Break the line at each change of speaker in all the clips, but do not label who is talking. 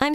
I'm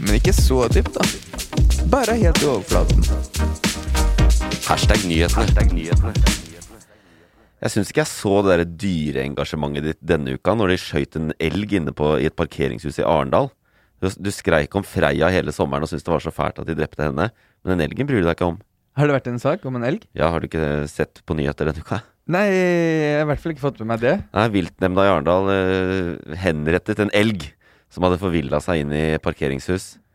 Men ikke så dypt, da. Bare helt i overflaten.
Hashtag nyhetene.
Jeg syns ikke jeg så det der dyreengasjementet ditt denne uka, når de skøyt en elg inne på, i et parkeringshus i Arendal. Du, du skreik om Freia hele sommeren og syntes det var så fælt at de drepte henne. Men den elgen bryr du deg ikke om.
Har det vært en sak om en elg?
Ja, har du ikke sett på nyheter denne uka?
Nei, jeg har i hvert fall ikke fått med meg det.
Nei, Viltnemnda i Arendal eh, henrettet en elg som hadde forvilla seg inn i parkeringshus.
Og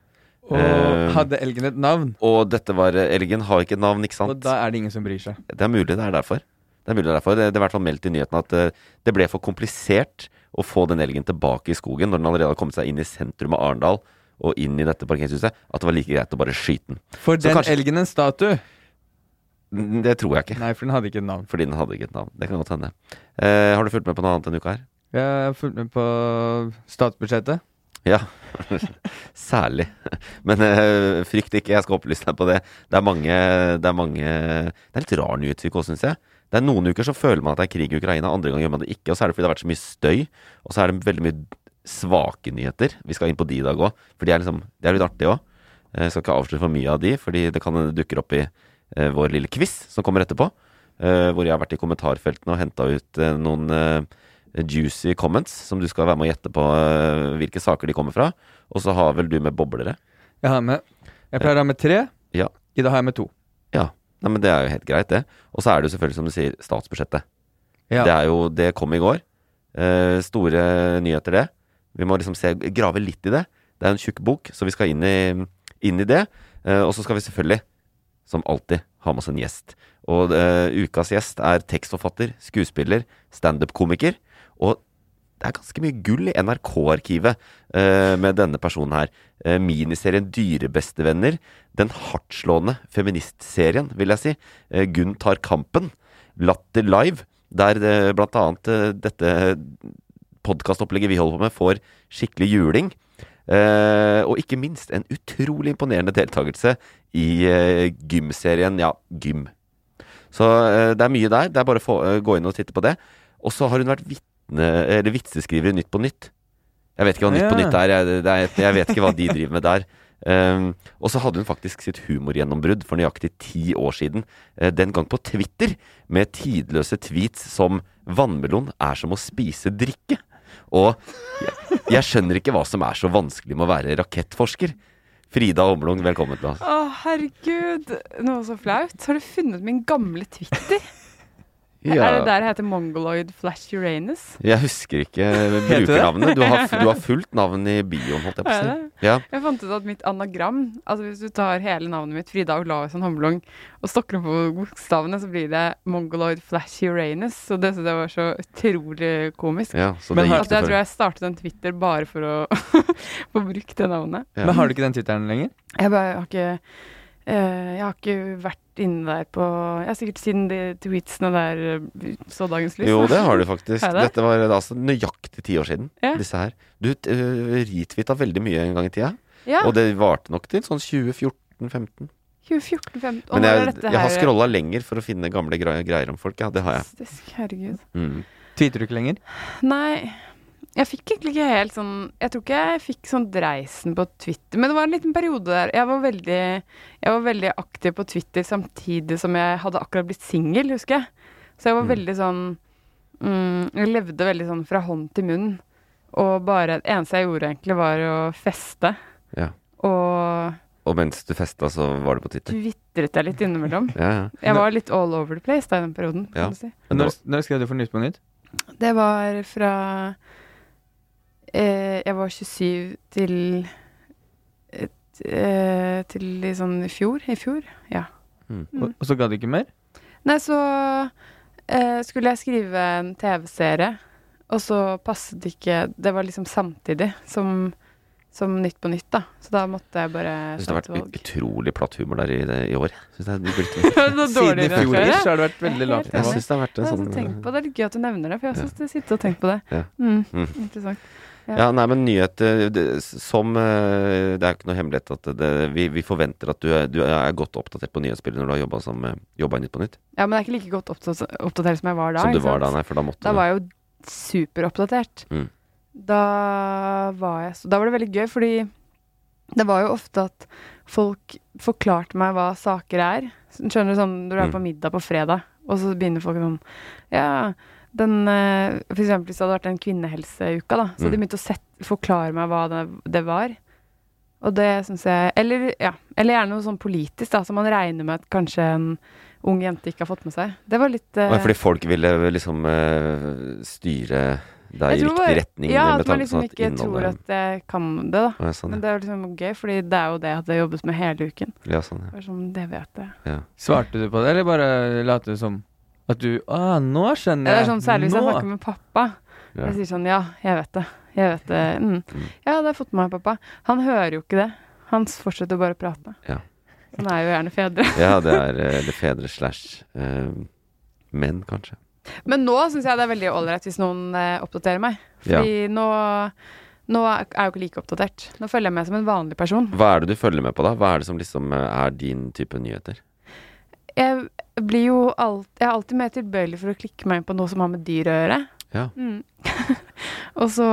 Eh,
hadde elgen et navn?
Og dette var eh, Elgen har ikke navn, ikke sant?
Og da er det ingen som bryr seg.
Det er mulig det er derfor. Det er mulig det er derfor. Det det er i hvert fall meldt i nyhetene at eh, det ble for komplisert å få den elgen tilbake i skogen når den allerede hadde kommet seg inn i sentrum av Arendal og inn i dette parkeringshuset, at det var like greit å bare skyte den.
For
Så
den
kanskje-
elgen en statue?
N- Det tror jeg ikke.
Nei, for den hadde ikke et navn.
Fordi den hadde ikke et navn. Det kan godt hende. Eh, har du fulgt med på noe annet denne uka her?
Jeg har fulgt med på statsbudsjettet.
Ja. Særlig. Men eh, frykt ikke, jeg skal opplyse deg på det. Det er mange Det er, mange, det er litt rar nyhetssyke òg, syns jeg. Det er Noen uker så føler man at det er krig i Ukraina, andre ganger gjør man det ikke. Og så er det fordi det har vært så mye støy, og så er det veldig mye svake nyheter. Vi skal inn på de i dag òg, for de er, liksom, de er litt artige òg. Jeg skal ikke avsløre for mye av de, fordi det kan hende det dukker opp i eh, vår lille quiz som kommer etterpå. eh, hvor jeg har vært i kommentarfeltene og henta ut eh, noen eh, juicy comments som du skal være med å gjette på eh, hvilke saker de kommer fra. Og så har vel du med boblere.
Jeg har med Jeg pleier å ha med tre.
Ja.
I dag har jeg med to.
Ja. Nei, men det er jo helt greit, det. Og så er det jo selvfølgelig, som du sier, statsbudsjettet.
Ja.
Det, er jo, det kom i går. Eh, store nyheter, det. Vi må liksom se, grave litt i det. Det er en tjukk bok, så vi skal inn i, inn i det. Eh, og så skal vi selvfølgelig, som alltid, ha med oss en gjest. Og eh, ukas gjest er tekstforfatter, skuespiller, standup-komiker. Og det er ganske mye gull i NRK-arkivet eh, med denne personen her. Eh, miniserien Dyrebestevenner. Den hardtslående feministserien, vil jeg si. Eh, Gunn tar kampen. Latter Live, der eh, blant annet eh, dette podkastopplegget vi holder på med, får skikkelig juling. Eh, og ikke minst en utrolig imponerende deltakelse i eh, gymserien Ja, gym. Så eh, det er mye der. Det er bare å få, eh, gå inn og titte på det. Og så har hun vært vitne, eller vitseskriver i Nytt på Nytt. Jeg vet ikke hva Nytt på
Ja.
Nytt er. Jeg, det er. jeg vet ikke hva de driver med der. Um, og så hadde hun faktisk sitt humorgjennombrudd for nøyaktig ti år siden. eh, den gang på Twitter, med tidløse tweets som 'Vannmelon er som å spise drikke'. Og jeg, jeg skjønner ikke hva som er så vanskelig med å være rakettforsker. Frida Omlung, velkommen til oss.
Å, herregud. Noe så flaut. Har du funnet min gamle Twitter? Er det der jeg heter Mongoloid Flash Uranus?
Jeg husker ikke
det?
brukernavnet. Du har, du har fullt navn i bioen, holdt jeg på å
Er
si.
det?
Ja.
Jeg fant ut at mitt anagram Altså Hvis du tar hele navnet mitt, Frida Olausson Hommelung, og stokker opp på bokstavene, så blir det Mongoloid Flash Uranus. Så det synes jeg var så utrolig komisk.
ja, så
Men
det
har-
gikk
At jeg
det
tror
for.
jeg startet en Twitter bare for å få brukt det navnet.
Ja.
Men har du ikke den tittelen lenger?
Jeg bare har ikke eh, Jeg har ikke vært inne der på Jeg har sikkert siden de tweetsene der eh, så dagens lys.
Jo,
da.
det har du faktisk.
Har jeg det?
Dette var altså nøyaktig ti år siden.
Ja.
Disse her. Du uh, retweeta veldig mye en gang i tida,
Ja.
og det varte nok til sånn 2014-15.
2014, 15
Men jeg,
dette
jeg har
her
scrolla lenger for å finne gamle gre- greier om folk. Ja, det har jeg.
Fantastisk, herregud.
Mm.
Tweeter du ikke lenger?
Nei, jeg fikk egentlig ikke helt sånn Jeg tror ikke jeg fikk sånn dreisen på Twitter, men det var en liten periode der. Jeg var veldig, jeg var veldig aktiv
Mm.
på Twitter samtidig som jeg hadde akkurat blitt singel, husker jeg. Så jeg var veldig sånn Mm, jeg levde veldig sånn fra hånd til munn. Og bare Det eneste jeg gjorde, egentlig, var å feste.
Ja.
Og
Og mens du festa, så var du på
Mm.
Twitter.
twitret jeg litt innimellom.
Ja, ja.
Jeg var litt all over the place da i den perioden.
Ja.
kan du si.
Men det
Når, når skrev du for Nytt på Nytt?
Det var fra eh, Jeg var 27 til et, eh, Til i sånn i fjor. I fjor.
Mm.
Og, og så ga du ikke mer?
Nei, så eh, skulle jeg skrive en TV-serie, og så passet det ikke Det var liksom samtidig som, som Nytt på Nytt, da. Så da måtte jeg bare
Jeg syns det
ta
har
et
vært
valg.
utrolig platt humor der i, i år. Jeg synes det, er blitt,
Det var
Siden i
dårligere enn
fjor ish,
før, ja.
har det vært veldig lavt
Jeg
jeg
er
nivå.
helt
synes det har vært en
Jeg har
sånn
tenkt på det. det er gøy at du nevner det, for jeg har også sittet og tenkt på det.
Ja.
Mm,
Mm.
Interessant.
Ja, nei, men nyheter det- som eh, Det er jo ikke noe hemmelighet at det, vi, vi forventer at du er, du er godt oppdatert på nyhetsbildet når du har jobba som eh, jobba i Nytt på Nytt.
Ja, men jeg er ikke like godt oppdatert, oppdatert som jeg var da.
som du
ikke
var da,
sant?
nei, for da måtte
Da
du
var jeg jo superoppdatert.
Mm.
Da var jeg så Da var det veldig gøy, fordi det var jo ofte at folk forklarte meg hva saker er. Skjønner du sånn når du er
Mm.
på middag på fredag, og så begynner folk sånn Ja, den eh, For eksempel hvis det hadde vært den kvinnehelseuka, da, så
Mm.
de begynte å sett, forklare meg hva det, det var. Og det syns jeg Eller ja, eller gjerne noe sånn politisk, da, som man regner med at kanskje en ung jente ikke har fått med seg. Det var litt eh,
Å, ja, Fordi folk ville liksom eh, styre deg i
Jeg tror
riktig
bare-
retning?
Ja,
med
at
tanke
man
på
liksom
sånn at
ikke tror
innholdet-
at jeg kan det, da.
Å, ja, sånn, ja.
Men det er liksom gøy, fordi det er jo det jeg hadde jobbet med hele uken.
ja, sånn, ja.
Det er sånn, det vet jeg.
Svarte du på det, eller bare lot du som at du ah, nå skjønner
Ja,
jeg.
det er sånn, særlig hvis jeg
Nå.
snakker med pappa.
Ja.
Jeg sier sånn, ja, jeg vet det. Jeg vet det. Mm. Ja, det har jeg fått med meg, pappa. Han hører jo ikke det. Han fortsetter bare å prate.
Ja.
Sånn er jo gjerne fedre.
ja, det er eh, eller fedre slash eh, menn, kanskje.
Men nå syns jeg det er veldig ålreit hvis noen eh, oppdaterer meg. Fordi nå, nå er jeg jo ikke like oppdatert. Nå følger jeg med som en vanlig person.
Hva er det du følger med på, da? Hva er det som liksom eh, er din type nyheter?
Jeg blir jo alt, jeg er alltid mer tilbøyelig for å klikke meg inn på noe som har med dyr å gjøre.
Ja.
Mm. og så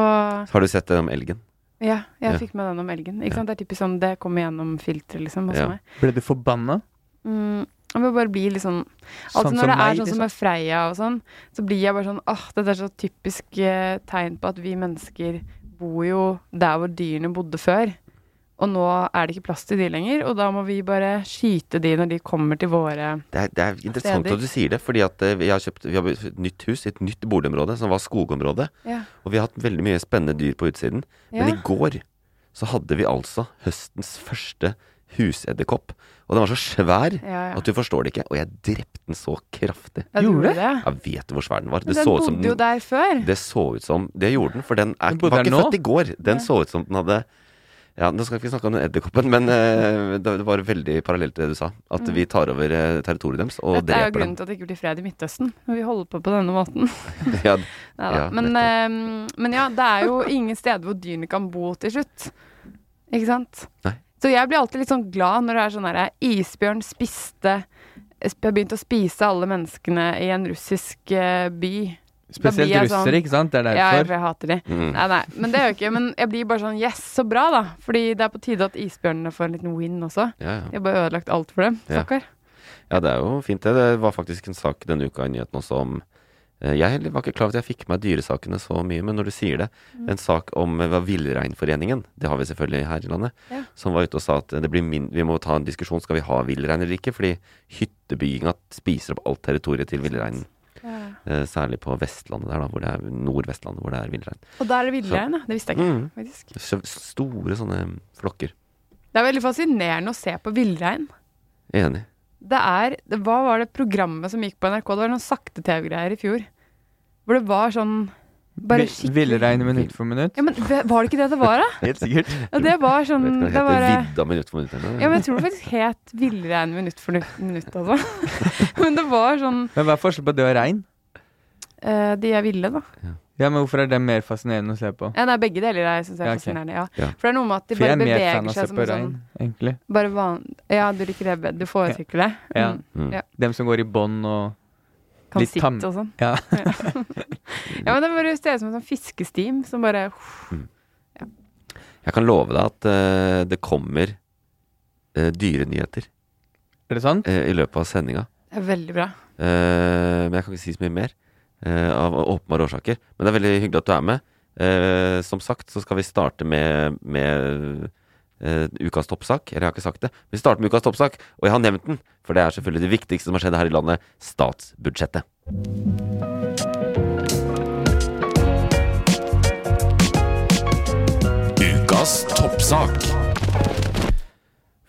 Har du sett det om elgen?
Ja, jeg
Ja.
fikk med den om elgen.
Ja.
Ikke sant? Det er typisk sånn det kommer gjennom filteret, liksom, hos
Ja.
meg.
Ble du forbanna?
Mm. Jeg vil bare bli litt sånn
Sånn
Altså
som
når det er
meg,
sånn som
liksom.
med Freia og sånn, så blir jeg bare sånn Åh, dette er så typisk eh, tegn på at vi mennesker bor jo der hvor dyrene bodde før. Og nå er det ikke plass til de lenger, og da må vi bare skyte de når de kommer til våre
Det er, det er interessant
Steder.
at du sier det, fordi at eh, vi har kjøpt vi har et nytt hus i et nytt boligområde, som var skogområde.
Ja.
Og vi har hatt veldig mye spennende dyr på utsiden. Men
Ja.
i går så hadde vi altså høstens første husedderkopp. Og den var så svær
Ja, ja.
at du forstår det ikke. Og jeg drepte den så kraftig.
Ja, du
Gjorde
gjorde
det?
det?
Jeg vet du hvor svær den var?
Men
Det
den
så ut som
bodde jo
den,
der før.
det så ut som Det gjorde den, for den er,
Den bodde
var
der
ikke
nå?
født i går. Den så ut som den hadde ja, Nå skal vi ikke snakke om den edderkoppen, men eh, det det var veldig parallelt til det du sa. At vi tar over eh, territoriet deres og
Mm. Dette er jo
dreper
grunnen
dem.
til at det ikke blir fred i Midtøsten, når vi holder på på denne måten.
Ja,
Neida.
Ja,
men, eh, men ja, det er jo ingen steder hvor dyrene kan bo til slutt. Ikke sant?
Nei.
Så jeg blir alltid litt sånn glad når det er sånn her Isbjørn spiste sp- har begynt å spise alle menneskene i en russisk eh, by. Da
Spesielt
blir jeg sånn-
russere, ikke sant? Det er
Ja, jeg,
derfor.
jeg hater de.
mm,
Nei, nei, men det gjør jeg ikke. Men jeg blir bare sånn Yes, så bra, da. Fordi det er på tide at isbjørnene får en liten win også.
ja, ja.
De har bare ødelagt alt for dem.
Ja.
Stakkar.
Ja, det er jo fint det. Det var faktisk en sak denne uka i nyheten også om eh, Jeg heller var ikke klar over at jeg fikk med dyresakene så mye, men når du sier det
Mm.
En sak om eh, hva Villreinforeningen, det har vi selvfølgelig her i landet,
Ja.
som var ute og sa at det blir min vi må ta en diskusjon skal vi ha villrein eller ikke, fordi hyttebygginga spiser opp alt territoriet til villreinen. Eh, Særlig på Vestlandet der, da, hvor det er Nord-Vestlandet, hvor det er villrein.
Og da er det villrein, ja. Det visste jeg ikke,
Mm.
faktisk.
Så Store sånne flokker.
Det er veldig fascinerende å se på villrein.
Enig.
Det er det, Hva var det programmet som gikk på NRK? Det var noen sakte-TV-greier i fjor. Hvor det var sånn Bare
Vi-
skikkelig
Villrein minutt for minutt.
Ja, men ve- Var det ikke det det var, da?
Helt sikkert.
Ja, det var sånn
Jeg vet ikke hva det
det var,
heter.
eh,
Vidda minutt for minutt. eller?
Ja, men jeg tror det faktisk het Villrein minutt for nu- minutt, altså. men det var sånn
Men hva er forskjellen på det og rein?
eh, De er ville, da.
Ja, men hvorfor er det mer fascinerende å se på?
Ja, nei, begge deler er, synes
Ja,
jeg er
ok.
fascinerende. Ja.
Ja.
For det er noe med at de
For jeg
bare
er mer fan
beveger
av å
seg
se
som
på
en
rein,
sånn
egentlig.
bare van... Ja, du liker det, du foretrekker det?
Ja.
Mm.
Dem som går i bånd og
Kan
Litt
sitte
tam-
og sånn.
Ja.
Ja, men det bare ser ut som en sånn fiskestim som bare
Jeg kan love deg at eh, det kommer eh, dyrenyheter
Er det sant?
eh, i løpet av sendinga.
Det er veldig bra.
Eh, men jeg kan ikke si så mye mer. eh, av åpenbare årsaker. Men det er veldig hyggelig at du er med. Eh, som sagt så skal vi starte med, med eh, ukas toppsak. Eller jeg har ikke sagt det. Vi starter med ukas toppsak, og jeg har nevnt den. For det er selvfølgelig det viktigste som har skjedd her i landet. Statsbudsjettet.
Ukas toppsak.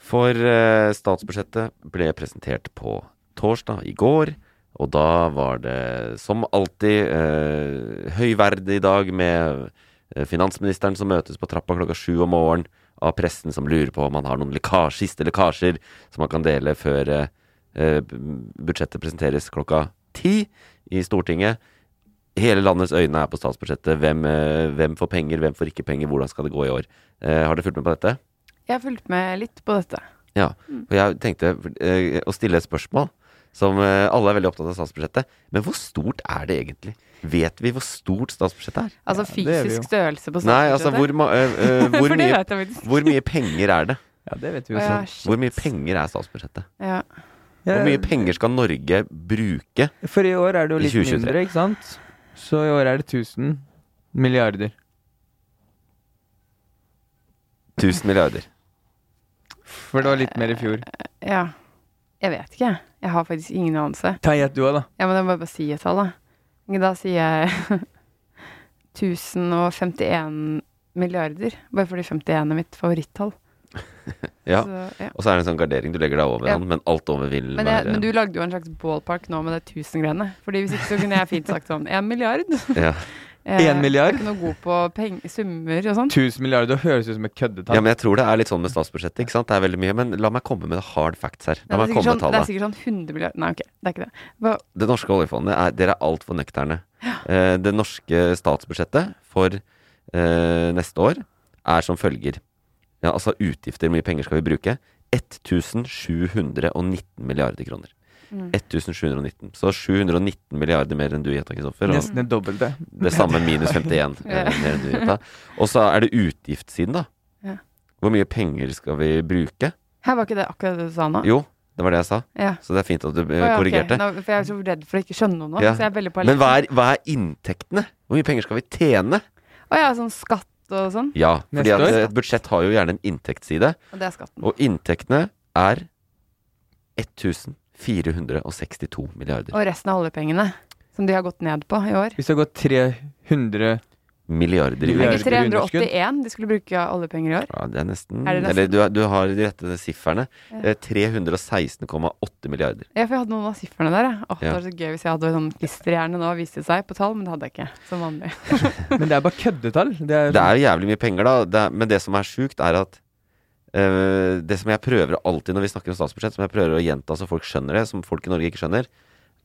For eh, statsbudsjettet ble presentert på torsdag i går. Og da var det som alltid eh, høyverdig dag med eh, finansministeren som møtes på trappa klokka sju om morgenen. Av pressen som lurer på om han har noen lekkasje, siste lekkasjer som han kan dele før eh, eh, budsjettet presenteres klokka ti i Stortinget. Hele landets øyne er på statsbudsjettet. Hvem, eh, hvem får penger, hvem får ikke penger, hvordan skal det gå i år? Eh, har dere fulgt med på dette?
Jeg har fulgt med litt på dette.
Ja, og jeg tenkte eh, å stille et spørsmål som eh, alle er veldig opptatt av statsbudsjettet. Men hvor stort er det egentlig? Vet vi hvor stort statsbudsjettet er?
Altså
det er vi
fysisk
jo.
størrelse på
Nei, altså hvor, ma eh, eh, hvor,
For det
mye,
vet jeg faktisk.
hvor mye penger er det?
Ja, det vet vi
Å
jo
ja,
sånn.
shit.
Hvor mye penger er statsbudsjettet?
ja.
Hvor mye penger skal Norge bruke?
For i år er det jo
I
litt
2023.
mindre, ikke sant? Så i år er det 1000 milliarder.
1000 milliarder.
For det var litt mer i fjor.
ja. Jeg vet ikke, jeg. Jeg har faktisk ingen anelse.
Ta gjett du òg, da.
Ja, men jeg må bare si et tall, da. Ok, Da sier jeg 1051 milliarder. Bare fordi 51 er mitt favorittall.
Ja.
Så, ja.
Og så er det en sånn gardering. Du legger deg over
Ja.
den, men alt over vil
Men, jeg,
være
men du lagde jo en slags ballpark nå med det 1000-greiene. Fordi hvis ikke så kunne jeg fint sagt sånn 1 milliard.
ja.
Eh,
En milliard?
Jeg er ikke noe god på peng summer og sånn.
1000 milliarder, det høres ut som et køddetall.
ja, men jeg tror det er litt sånn med statsbudsjettet. ikke sant? Det er veldig mye, Men la meg komme med hard facts her. La
Det er,
meg komme
sikkert
med
sånn, det
tallet.
er sikkert sånn 100 milliarder Nei, ok, det er ikke det. Hva,
Det norske oljefondet er, Dere er altfor nøkterne. Eh, det norske statsbudsjettet for eh, neste år er som følger. Ja, altså utgifter, hvor mye penger skal vi bruke? 1719 milliarder kroner.
Mm.
1719. Så 719 milliarder mer enn du gjetta, Kristoffer. Og
Nesten det dobbelte.
det samme minus 51 eh, mer enn du gjetta. Og så er det utgiftssiden, da.
Ja.
Hvor mye penger skal vi bruke?
her var ikke det akkurat det du sa nå?
Jo, det var det jeg sa.
Ja.
Så det er fint at du eh,
Å, ja, ok.
korrigerte.
Nå, for jeg er så redd for å ikke skjønne noe nå.
Ja.
Så jeg er veldig på
Men hva er, hva er inntektene? Hvor mye penger skal vi tjene?
Å ja, sånn skatt og sånn.
Ja, fordi
Neste
at
år?
eh, et budsjett har jo gjerne en inntektsside,
Og det er skatten.
og inntektene er 1462 milliarder.
Og resten av oljepengene. Som de har gått ned på i år.
Hvis det har gått 300
Milliarder i
Det er
Ikke
år.
Milliarder. ikke
381 de skulle bruke av oljepenger i år.
Ja, det er nesten,
Er det nesten?
Eller du, er- du har de rette sifferne. Eh, 316,8 milliarder.
Ja, for jeg hadde noen av siffrene der. jeg. Åh, Det
Ja.
var så gøy hvis jeg hadde sånn klisterhjerne nå, viste det seg på tall, men det hadde jeg ikke. Som vanlig.
Men det er bare køddetall. Det er,
Det er jo jævlig mye penger, da. Det er, men det som er sjukt, er at eh, Det som jeg prøver alltid når vi snakker om statsbudsjett, som jeg prøver å gjenta så folk skjønner det, som folk i Norge ikke skjønner,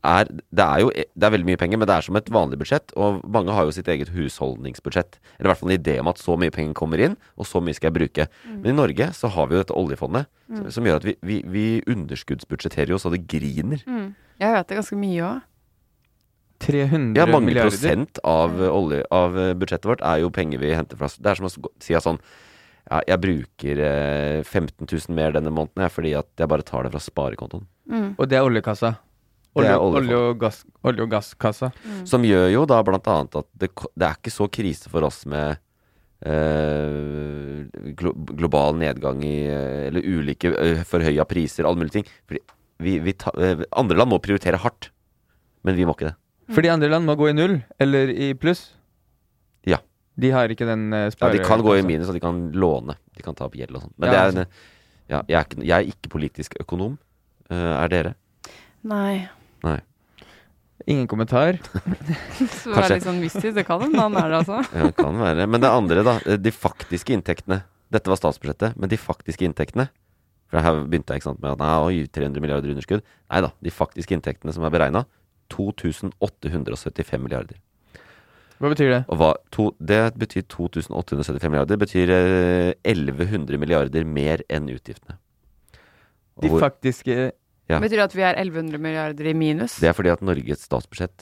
er Det er jo det er veldig mye penger, men det er som et vanlig budsjett. Og mange har jo sitt eget husholdningsbudsjett. Eller i hvert fall en idé om at så mye penger kommer inn, og så mye skal jeg bruke. Men i Norge så har vi jo dette oljefondet, som, som gjør at vi, vi, vi underskuddsbudsjetterer jo så det griner.
Jeg vet det ganske mye òg.
300
Ja, mange
milliarder.
prosent av, eh, olje, av eh, budsjettet vårt er jo penger vi henter fra s- Det er som å s- gå- si at sånn ja, Jeg bruker eh, 15 000 mer denne måneden jeg, fordi at jeg bare tar det fra sparekontoen.
Mm.
Og det er oljekassa.
Det
Olje,
er oljefondet.
olje, og gass, olje og gasskassa.
Som gjør jo da blant annet at det, ko- det er ikke så krise for oss med eh, glo global nedgang i eh, Eller ulike uh, forhøya priser, alle mulige ting. Fordi vi, vi ta, eh, andre land må prioritere hardt, men vi må ikke det.
Fordi andre land må gå i null, eller i pluss.
Ja.
De har ikke den uh,
Ja,
spare...
de kan gå i minus, og de kan låne. De kan ta opp gjeld og sånn. Men
Ja, altså.
det er, en- ja, jeg, er ikke, jeg er ikke politisk økonom. Eh, er dere?
Nei.
eh,
Ingen kommentar.
Så det
Kanskje.
er litt sånn mystisk. Det kan en mann er det, altså.
Ja, det kan være. Men det andre, da. eh, De faktiske inntektene. Dette var statsbudsjettet, men de faktiske inntektene For her begynte jeg ikke sant, med at nei, oi, 300 milliarder underskudd. Nei da. De faktiske inntektene som er beregna, 2875 milliarder.
Hva betyr det?
Og hva, to, det betyr 2875 milliarder. betyr eh, 1100 milliarder mer enn utgiftene. Og
De
hvor-
faktiske eh,
Ja.
Betyr det at vi er 1100 milliarder i minus?
Det er fordi at Norges statsbudsjett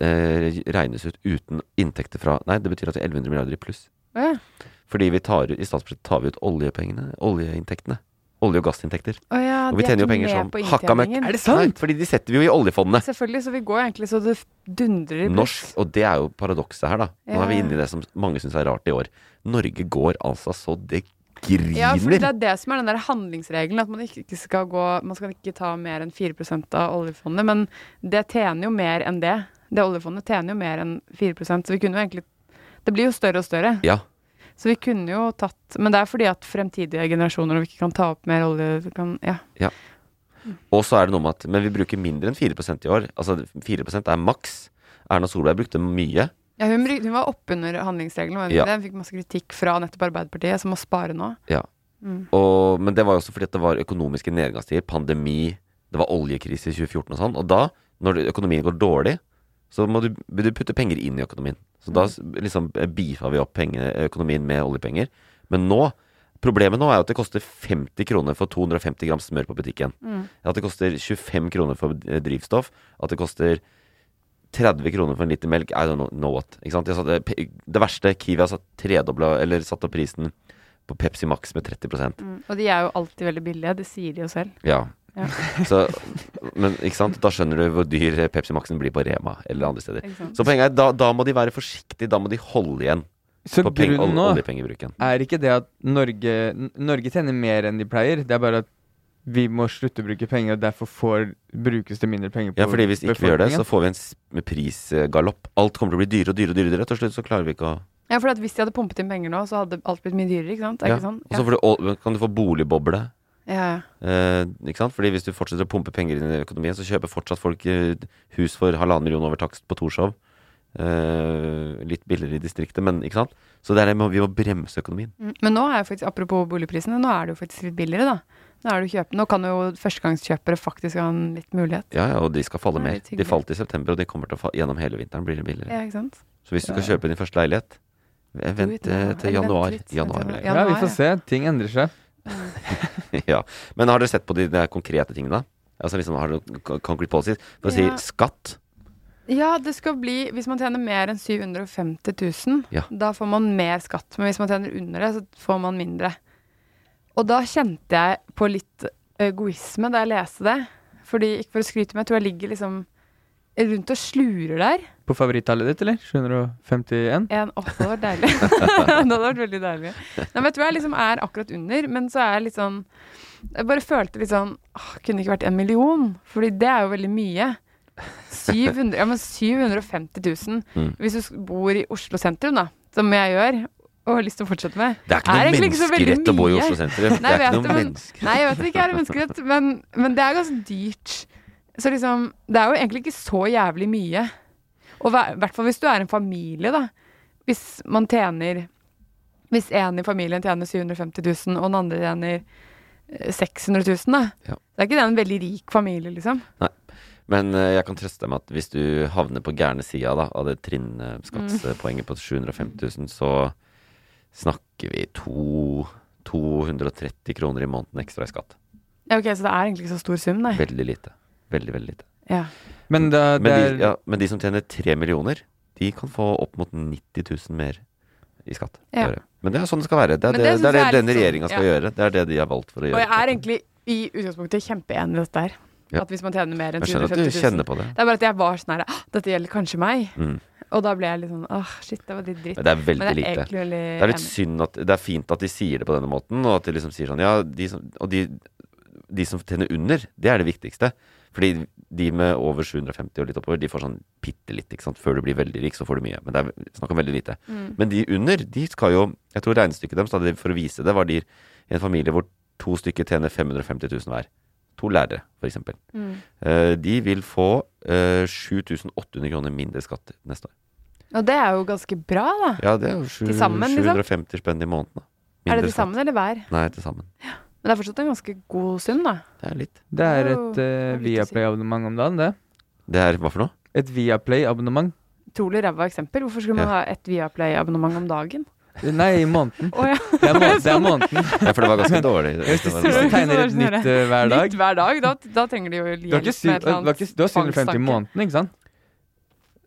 eh, regnes ut uten inntekter fra Nei, det betyr at det er 1100 milliarder i pluss.
Å ja.
Fordi vi tar ut, i statsbudsjettet tar vi ut oljepengene, oljeinntektene. olje- og gassinntekter.
Å ja,
Og
de
vi
er
tjener jo
ikke
penger
med
som
på
hakka møkk.
inntjeningen.
Er det sant? Fordi de setter vi jo i oljefondet.
Selvfølgelig, så vi går egentlig så det dundrer i pluss.
Norsk, og det er jo paradokset her, da. Nå er vi
Ja.
inne i det som mange syns er rart i år. Norge går altså så det
Ja, for det
griner.
er det som er den der handlingsregelen, at man ikke ikke skal gå Man skal ikke ta mer enn 4 av oljefondet, men det tjener jo mer enn det. Det oljefondet tjener jo mer enn 4 så vi kunne jo egentlig Det blir jo større og større.
Ja,
Så vi kunne jo tatt Men det er fordi at fremtidige generasjoner og vi ikke kan ta opp mer olje kan, Ja.
Og så er det noe med at Men vi bruker mindre enn 4 i år. Altså 4 er maks. Erna Solberg brukte mye.
ja hun, bry- hun var oppunder handlingsregelen, var hun
Ja.
ikke det? Hun fikk masse kritikk fra nettopp Arbeiderpartiet, som må spare nå.
Ja.
Mm.
Og, men det var jo også fordi at det var økonomiske nedgangstider, pandemi, det var oljekrise i 2014 og sånn. Og da, når du- økonomien går dårlig, så må du, vil du putte penger inn i økonomien. Så da s- liksom eh, beefa vi opp penge, økonomien med oljepenger. Men nå Problemet nå er jo at det koster 50 kroner for 250 gram smør på butikken.
Mm,
At det koster 25 kroner for eh, drivstoff. At det koster 30 kroner for en liter melk. I don't know, know what. Ikke sant? De har satt, eh, pe- det verste Kiwi har satt, tredobla, eller satt opp prisen på Pepsi Max med 30
Og de er jo alltid veldig billige, det sier de jo selv.
Ja.
Ja.
Så, men ikke sant? da skjønner du hvor dyr Pepsi Max-en blir på Rema eller andre steder.
Ikke sant?
Så poenget er da, da må de være forsiktige. Da må de holde igjen
Så
på peng, ol-
grunnen nå
oljepengebruken.
er ikke det at Norge N- Norge tjener mer enn de pleier. Det er bare at vi må slutte å bruke penger, og derfor får, brukes det mindre penger på
Ja, fordi hvis ikke vi gjør det, så
befolkningen.
får vi en s- med prisgalopp. Alt kommer til å bli dyrere og dyrere og dyrere. Til slutt så klarer vi ikke å
Ja, for at hvis de hadde pumpet inn penger nå, så hadde alt blitt mye dyrere, ikke sant? Er
ja.
ikke sånn?
Og så får du ol- kan du få boligboble.
Ja, ja.
Eh, ikke sant? Fordi hvis du fortsetter å pumpe penger inn i økonomien, så kjøper fortsatt folk eh, hus for halvannen million over takst på Torshov. Eh, litt billigere i distriktet, men ikke sant? Så det er det med, vi må bremse økonomien.
Mm. Men nå er jo faktisk, apropos boligprisene, nå er det jo faktisk litt billigere, da. Nå, er det jo kjøp, nå kan jo førstegangskjøpere faktisk ha en litt mulighet.
Ja, ja, og de skal falle
Det er
mer.
litt
De
hyggelig.
falt i september, og de kommer til å falle gjennom hele vinteren. blir det billigere.
Ja, ikke sant?
Så hvis du skal kjøpe din første leilighet, eh,
Do it
vent eh,
now.
til
Eller vent
januar.
litt.
januar
Vent
blir det.
til-
Ja, vi
Januar,
får se. Ting endrer seg.
ja. Men har dere sett på de, de konkrete tingene? Altså liksom, Har dere noen concrete policies? For å si
Ja.
skatt.
Ja, det skal bli Hvis man tjener mer enn 750 000,
Ja.
da får man mer skatt. Men hvis man tjener under det, så får man mindre. Og da kjente jeg på litt egoisme da jeg leste det. Fordi, ikke for å skryte, men jeg tror jeg ligger liksom rundt og slurer der.
På favorittallet ditt, eller? 751?
En, åh, det hadde vært deilig. det hadde vært veldig deilig. Nei, men jeg tror jeg liksom er akkurat under, men så er jeg litt sånn Jeg bare følte litt sånn åh, Kunne det ikke vært en million? Fordi det er jo veldig mye. 700, ja, men 750 000.
Mm.
Hvis du s- bor i Oslo sentrum, da, som jeg gjør, og har lyst til å fortsette med
Det er ikke noe
egentlig ikke så veldig
menneskerett å bo i
mye.
Oslo sentrum.
Nei,
det er
jeg
ikke
vet
noe
det, men-
menneske-
Nei, jeg vet det ikke er en menneskerett, men, men det er ganske dyrt. Så liksom, det er jo egentlig ikke så jævlig mye. Og hva- i hvert fall hvis du er en familie, da. Hvis man tjener Hvis en i familien tjener 750 000, og den andre tjener eh, 600 000, da.
Ja.
Det er ikke det en veldig rik familie, liksom.
Men eh, jeg kan trøste deg med at hvis du havner på gærne sida da, av det
Mm.
trinnskattspoenget på 750 000, så snakker vi to 230 kroner i måneden ekstra i skatt.
Ja, ok, Så det er egentlig ikke så stor sum, nei.
Veldig lite. Veldig, veldig lite.
Ja.
Men da, det
Men de,
er
ja, men de som tjener tre millioner, de kan få opp mot 90 000 mer i skatt. i
Ja.
året. Men det er sånn det skal være. Det
Men
er det,
det
det,
synes
er det
jeg er litt
denne
sånn,
regjeringa skal
ja.
gjøre. Det er det de er valgt for å
Og
gjøre.
jeg er egentlig i utgangspunktet kjempeenig i dette her.
Ja.
At hvis man tjener mer enn
jeg skjønner at
750 000
du kjenner på det.
Det er bare at jeg var sånn her «Ah, Dette gjelder kanskje meg.
Mm.
Og da ble jeg litt sånn Åh, shit, det var litt dritt.
Men det er
Men
veldig
jeg er
lite.
egentlig veldig
Det er litt
enig.
synd at Det er fint at de sier det på denne måten, og at de liksom sier sånn Ja, de som, og de, de som tjener under, det er det viktigste. Fordi de med over 750 og litt oppover, de får sånn bitte litt, ikke sant. Før du blir veldig rik, så får du mye. Men det er snakk om veldig lite. Men de under, de skal jo Jeg tror regnestykket deres, da de- for å vise det, var de i en familie hvor to stykker tjener 550 000 hver. To lærere, for eksempel. Eh, de vil få eh, 7800 kroner mindre skatt neste år.
Og det er jo ganske bra, da.
Ja, det er jo sju-
Til sammen, liksom?
750 spenn i måneden. da.
er
Mindre
det til
skatt.
sammen eller hver?
Nei, til sammen.
Men det er fortsatt en ganske god sum, da.
Det er litt.
Det er
Wow,
et eh,
det er litt å si.
Viaplay-abonnement om dagen, det.
Det er hva for noe?
Et Viaplay-abonnement.
Utrolig ræva eksempel. Hvorfor skulle man
Ja.
ha et Viaplay-abonnement om dagen?
Nei, i måneden.
Å ja. Sånn.
Det er, må det er måneden.
Ja, for det var ganske dårlig.
Hvis
Det
du
var
det.
bra.
tegner et nytt eh, hver dag
Nytt hver dag. Da, da trenger de jo
Du har
hjelp
ikke syv-
med et
du
eller
har
annet.
ikke- du har 750 i
fangstanke.
måneden, ikke sant?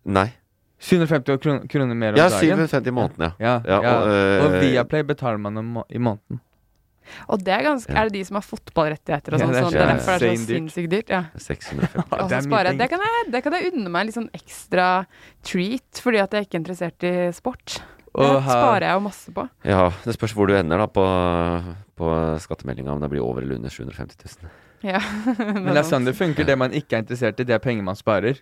Nei.
750 kron- kroner mer om
Ja,
dagen.
750 i måneden, ja.
Ja,
Ja,
ja.
og, øh,
Og Viaplay betaler man om må- i måneden.
Og det er ganske
Ja.
Er det de som har fotballrettigheter og
Ja,
sånn?
det er
sånn, det
så
er derfor det er så
insane dyrt.
sinnssykt dyrt. Ja.
650.
Og
det er
så
mye
sparer
penger.
jeg. Det kan jeg, det kan jeg unne meg en litt sånn ekstra treat, fordi at jeg er ikke interessert i sport. Det
Og her,
sparer jeg jo masse på.
Ja, det spørs hvor du ender da på, på skattemeldinga, om det blir over eller under 750 000.
Ja.
men det er sånn det funker. Det man ikke er interessert i, det er penger man sparer.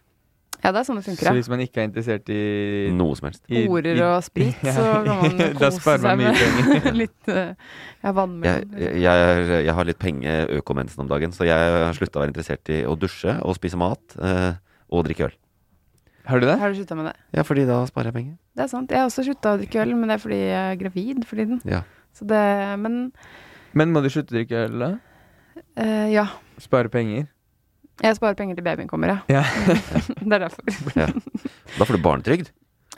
ja, det er sånn det
Så
funker. Ja.
hvis man ikke er interessert i,
Noe som helst.
i,
Horer og sprit, så kan man
Da
kose
sparer
seg
man mye
med
penger.
litt eh, Ja,
Jeg,
vannmelon.
jeg, er- jeg har litt penge økomensen om dagen, så jeg har slutta å være interessert i å dusje og spise mat eh, og drikke øl.
Har du det?
Har du slutta med det?
Ja, fordi da sparer jeg penger.
Det er sant. Jeg har også slutta å drikke øl, men det er fordi jeg er gravid for tiden.
Ja.
Så det Men
Men må du slutte å drikke øl, da?
eh, ja.
Spare penger?
Jeg sparer penger til babyen kommer, ja.
Ja.
Det er derfor.
Da får du barnetrygd.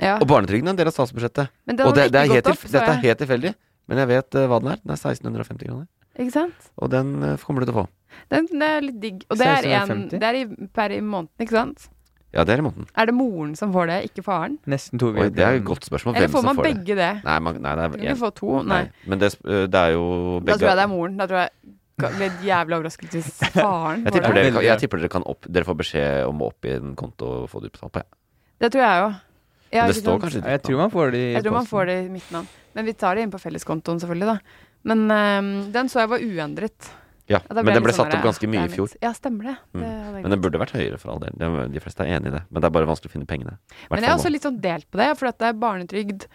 Ja.
Og barnetrygden er en del av statsbudsjettet.
Men den
og
har
det, det er
ikke
helt,
gått opp,
tilf-
så
dette er
jeg-
helt tilfeldig, men jeg vet eh, hva den er. Den er 1650 kroner.
Ikke sant?
Og den eh, kommer du til å få.
Den, det er litt digg. Og det er, en,
1650.
det er i, per i måneden, ikke sant?
Ja, det er i måneden.
Er det moren som får det, ikke faren?
Nesten to
Oi, det er jo et godt spørsmål.
Eller
Hvem
får
som
man
får det.
begge det?
Nei, man, nei, det er
Du kan ikke
en.
få to, nei.
Nei. Men det, sp- eh, det er jo begge
Da tror jeg det er moren. Da tror jeg jeg blir jævlig overrasket hvis faren
Jeg
får
tipper,
det.
dere kan, jeg
Veldig.
tipper dere kan opp Dere får beskjed om å oppgi en konto og få det utbetalt på. Ja.
Det tror jeg jo. Ja,
Men det
ikke
står
sant?
kanskje
Jeg tror man får det i
Jeg tror man
posten.
får det i midten av. Men vi tar det inn på felleskontoen, selvfølgelig, da. Men øhm, den så jeg var uendret.
Ja,
Og da
men den
jeg
ble
litt sånn
satt opp
der,
ganske mye
det
i
er
fjor.
mitt. Ja, stemmer det.
Mm.
det hadde jeg
Men den
glemt.
burde vært høyere for all del. Det- De fleste er enig i det. Men det er bare vanskelig å finne pengene. I hvert
Men jeg er
fall
også
nå.
litt sånn delt på det, for at det er barnetrygd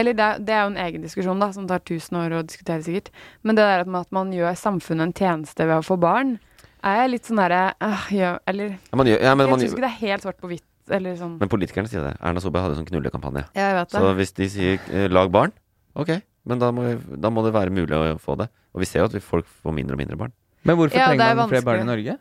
Eller det er, det er jo en egen diskusjon, da, som tar tusen år å diskutere, sikkert. Men det der at man, at man gjør samfunnet en tjeneste ved å få barn, er jeg litt sånn derre øh, gjør- Eller
ja, man, gjør- ja, men,
jeg
man,
syns
gjør-
ikke det er helt svart på hvitt, eller sånn.
men politikerne sier det. Erna Solberg hadde en sånn knullekampanje.
Ja, jeg vet det.
Så hvis de sier eh, 'lag barn', ok, men da må, vi- da må det være mulig å få det. Og vi ser jo at vi- folk får mindre og mindre barn.
Men hvorfor
Ja, det
trenger
er
man flere barn i
vanskelig.
Norge?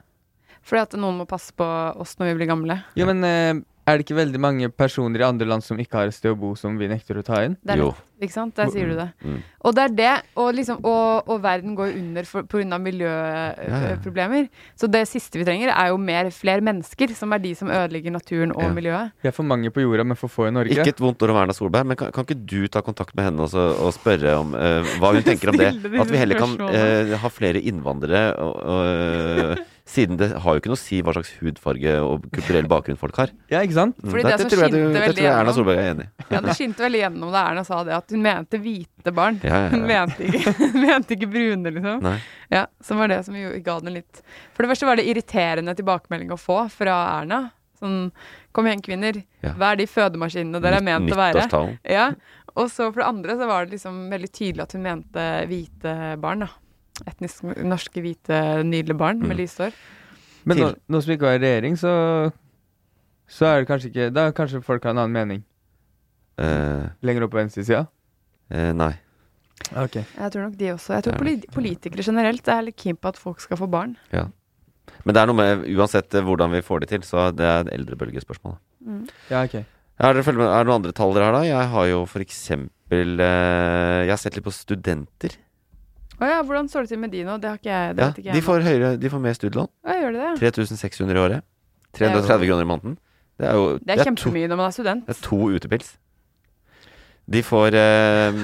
Fordi at noen må passe på oss når vi blir gamle.
Jo, men eh, er det ikke veldig mange personer i andre land som ikke har et sted å bo, som vi nekter å ta inn?
Det er
Jo.
lett, ikke sant? Der sier du det.
Mm.
Og det er det, og, liksom, og, og verden går under for- på grunn av
Ja, ja.
miljøproblemer. Så det siste vi trenger er jo mer, flere mennesker, som er de som ødelegger naturen og
Ja.
miljøet.
Vi er for mange på jorda, men for få i Norge.
Ikke et vondt ord om Erna Solberg, men kan, kan ikke du ta kontakt med henne og, så, og spørre om eh, hva hun tenker om det?
Stille disse
At vi heller kan
spørsmålene.
eh, ha flere innvandrere, og, og, eh, siden det har jo ikke noe å si hva slags hudfarge og kulturell bakgrunn folk har.
Ja, ikke sant?
Mm,
Fordi det
dette
som
tror jeg,
skinte
du,
veldig
det tror jeg Erna
gjennom-
Solberg er enig i.
Ja, det skinte veldig gjennom da Erna sa det, at hun mente hvite barn.
Ja, ja,
Hun
ja.
mente ikke, hun mente ikke brune, liksom.
Nei.
Ja, Som var det som jo ga den litt For det første var det irriterende tilbakemelding å få fra Erna. Sånn Kom igjen, kvinner.
Ja.
Hva er de fødemaskinene dere er ment
Nytt-
å være?
Nyttårstalen.
Ja, og så for det andre så var det liksom veldig tydelig at hun mente hvite barn, da. Etnisk norske hvite nydelige barn med
Mm.
lyst hår.
Men nå,
Til-
nå som vi ikke har regjering, så så er det kanskje ikke Da kanskje folk har en annen mening.
Eh,
Lenger opp på venstresida.
eh, nei.
Okay.
Jeg tror nok de også.
Det
Jeg tror
er
poli- politikere generelt er litt keen på at folk skal få barn.
Men det er noe med uansett eh, hvordan vi får det til, så det er et eldrebølgespørsmål. da.
Ja, ok.
Er det, er det noen andre tall dere har, da? Jeg har jo for eksempel eh, Jeg har sett litt på studenter.
Å ja, hvordan står det til med de nå? Det har ikke jeg, det
Ja,
vet ikke
de,
jeg.
får høyere, de får mer studielån.
Å, gjør de det?
3600 i året.
er jo-
330 kroner i måneden. Det er jo
Det er
to,
kjempemye når man er student.
det er to utepils. De får eh,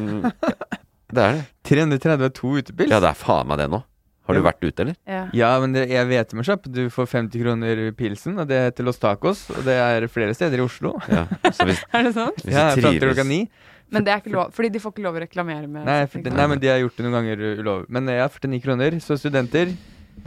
Det er det.
330 er to utepils?
Ja, det er faen meg det nå. Har du vært ute, eller?
Ja.
Ja, men det, jeg vet jo med kjapp. Du får 50 kroner pilsen, og det heter Los Tacos. Og det er flere steder i Oslo.
Ja. Så hvis,
Er det sant?
hvis
ja,
du
Fram til
trives
klokka ni.
Men det er ikke lov, fordi de får ikke lov å reklamere med
Nei, for, nei, men de har gjort det noen ganger uh, ulovlig. Men ja, 49 kroner. Så studenter,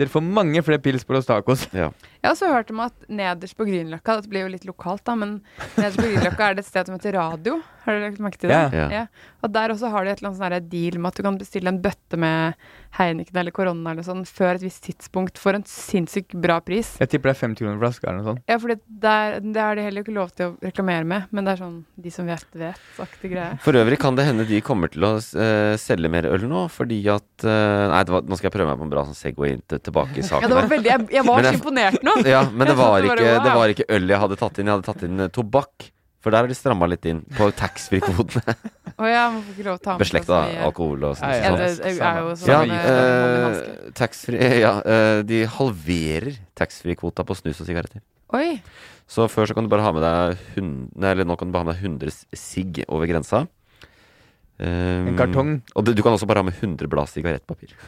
dere får mange flere pils på Los Tacos.
Jeg har også hørt om at nederst på Grünerløkka Det blir jo litt lokalt, da, men nederst på Grünerløkka er det et sted som heter Radio. Har du lagt merke til det?
Ja.
Ja.
Og der også har de et eller annet sånn her deal med at du kan bestille en bøtte med Heineken eller Corona eller sånn før et visst tidspunkt for en sinnssykt bra pris.
Jeg tipper det er 50 kroner flaska eller noe sånt.
Ja, for det, der- det har de heller ikke lov til å reklamere med, men det er sånn de som vet, vet-aktig greie.
For øvrig kan det hende de kommer til å eh, selge mer øl nå, fordi at eh, Nei, det var, nå skal jeg prøve meg på en bra sånn Segway til- tilbake i
Ja,
saken.
det var
her.
veldig, jeg, jeg var
Men
så
jeg-
imponert nå.
Ja, men det
Jeg
var,
satt og
ikke,
bare,
det
wow.
var ikke øl jeg hadde tatt inn. Jeg hadde tatt inn eh, tobakk. For der har de stramma litt inn på taxfree-kvotene.
Å ja, man får ikke lov å ta med seg
Beslekta
så mye.
alkohol og sånn.
Nei,
Ja,
sånn.
det er jo sånn
Ja,
med-
eh,
med hansker.
taxfree Ja, eh, de halverer taxfree-kvota på snus og sigaretter.
Oi.
Så før så kan du bare ha med deg 100, nei, eller nå kan du bare ha med deg 100 sigg over grensa. Um,
En kartong.
Og du, du kan også bare ha med 100 blad sigarettpapir.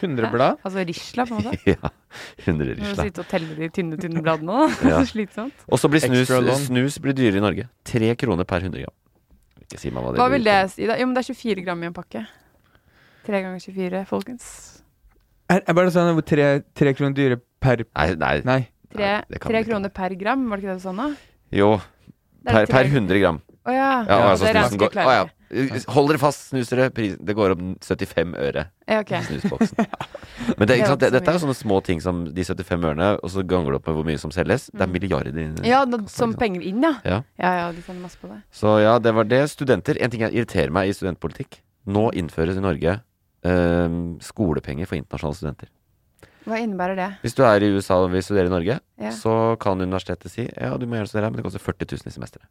100 blad.
Altså risla, på en måte.
ja, 100
Når du
risla.
sitter og teller de tynne, tynne bladene òg.
Ja.
Så slitsomt.
Og så blir snus,
Extra long.
snus blir dyrere i Norge. Tre kroner per 100 gram. Ikke si meg hva det
Hva vil
blir.
det si, da? Jo, men det er 24 gram i en pakke. Tre ganger 24, folkens.
Er, er bare sånn hvor tre, tre kroner dyre per
Nei, nei,
Nei.
Tre,
Nei, det kan
tre
det ikke
kroner per gram, var det ikke det du sa nå?
Jo,
Det er
per,
tre-
per 100 gram.
Å ja.
Ja,
Ja,
altså,
det
snusen
rasker
går,
klarer
å, ja.
jeg.
Hold dere fast, snusere. Pris, det går opp 75 øre.
Ja, ok.
snusboksen. Men det,
Det
ikke sant?
var
Det,
ikke så
dette er jo
mye.
sånne små ting som de 75 ørene, og så ganger du opp med hvor mye som selges. Det er milliarder inni
Mm. Ja, da, som
sant.
penger inn, ja.
Ja.
Ja, ja, du får masse på det.
Så ja, det var det. Studenter. En ting jeg irriterer meg i studentpolitikk. Nå innføres i Norge ehm, skolepenger for internasjonale studenter.
Hva innebærer det?
Hvis du er i USA og vil studere i Norge,
Ja.
så kan universitetet si ja, du må gjerne studere her, men det koster 40 000 i semesteret.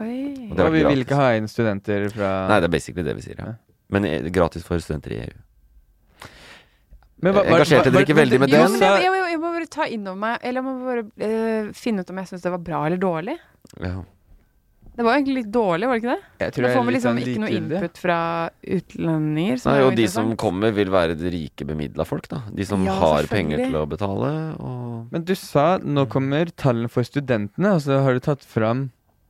Oi.
Og det
Og
var
vi vil
gratis.
ikke ha inn studenter fra
Nei, det er basically det vi sier, ja.
Ja.
Men eh, gratis for studenter i EU.
Men
Jeg engasjerte dere ikke veldig med
Jo,
Jo,
den?
men jeg, jeg, jeg må bare ta innover meg Eller jeg må bare eh, finne ut om jeg syns det var bra eller dårlig.
Ja.
Det var jo egentlig litt dårlig, var det ikke det?
Jeg tror
Da
jeg
får
er
vi
litt
liksom
sånn
ikke noe
likegyldig.
input fra utlendinger. som
Nei,
er sånn- jo
og de som
interessant.
kommer, vil være de rike, bemidla folk, da. De som
Ja,
har penger
selvfølgelig.
til å betale. Og...
Men du sa
Mm.
nå kommer tallene for studentene, og så har du tatt fram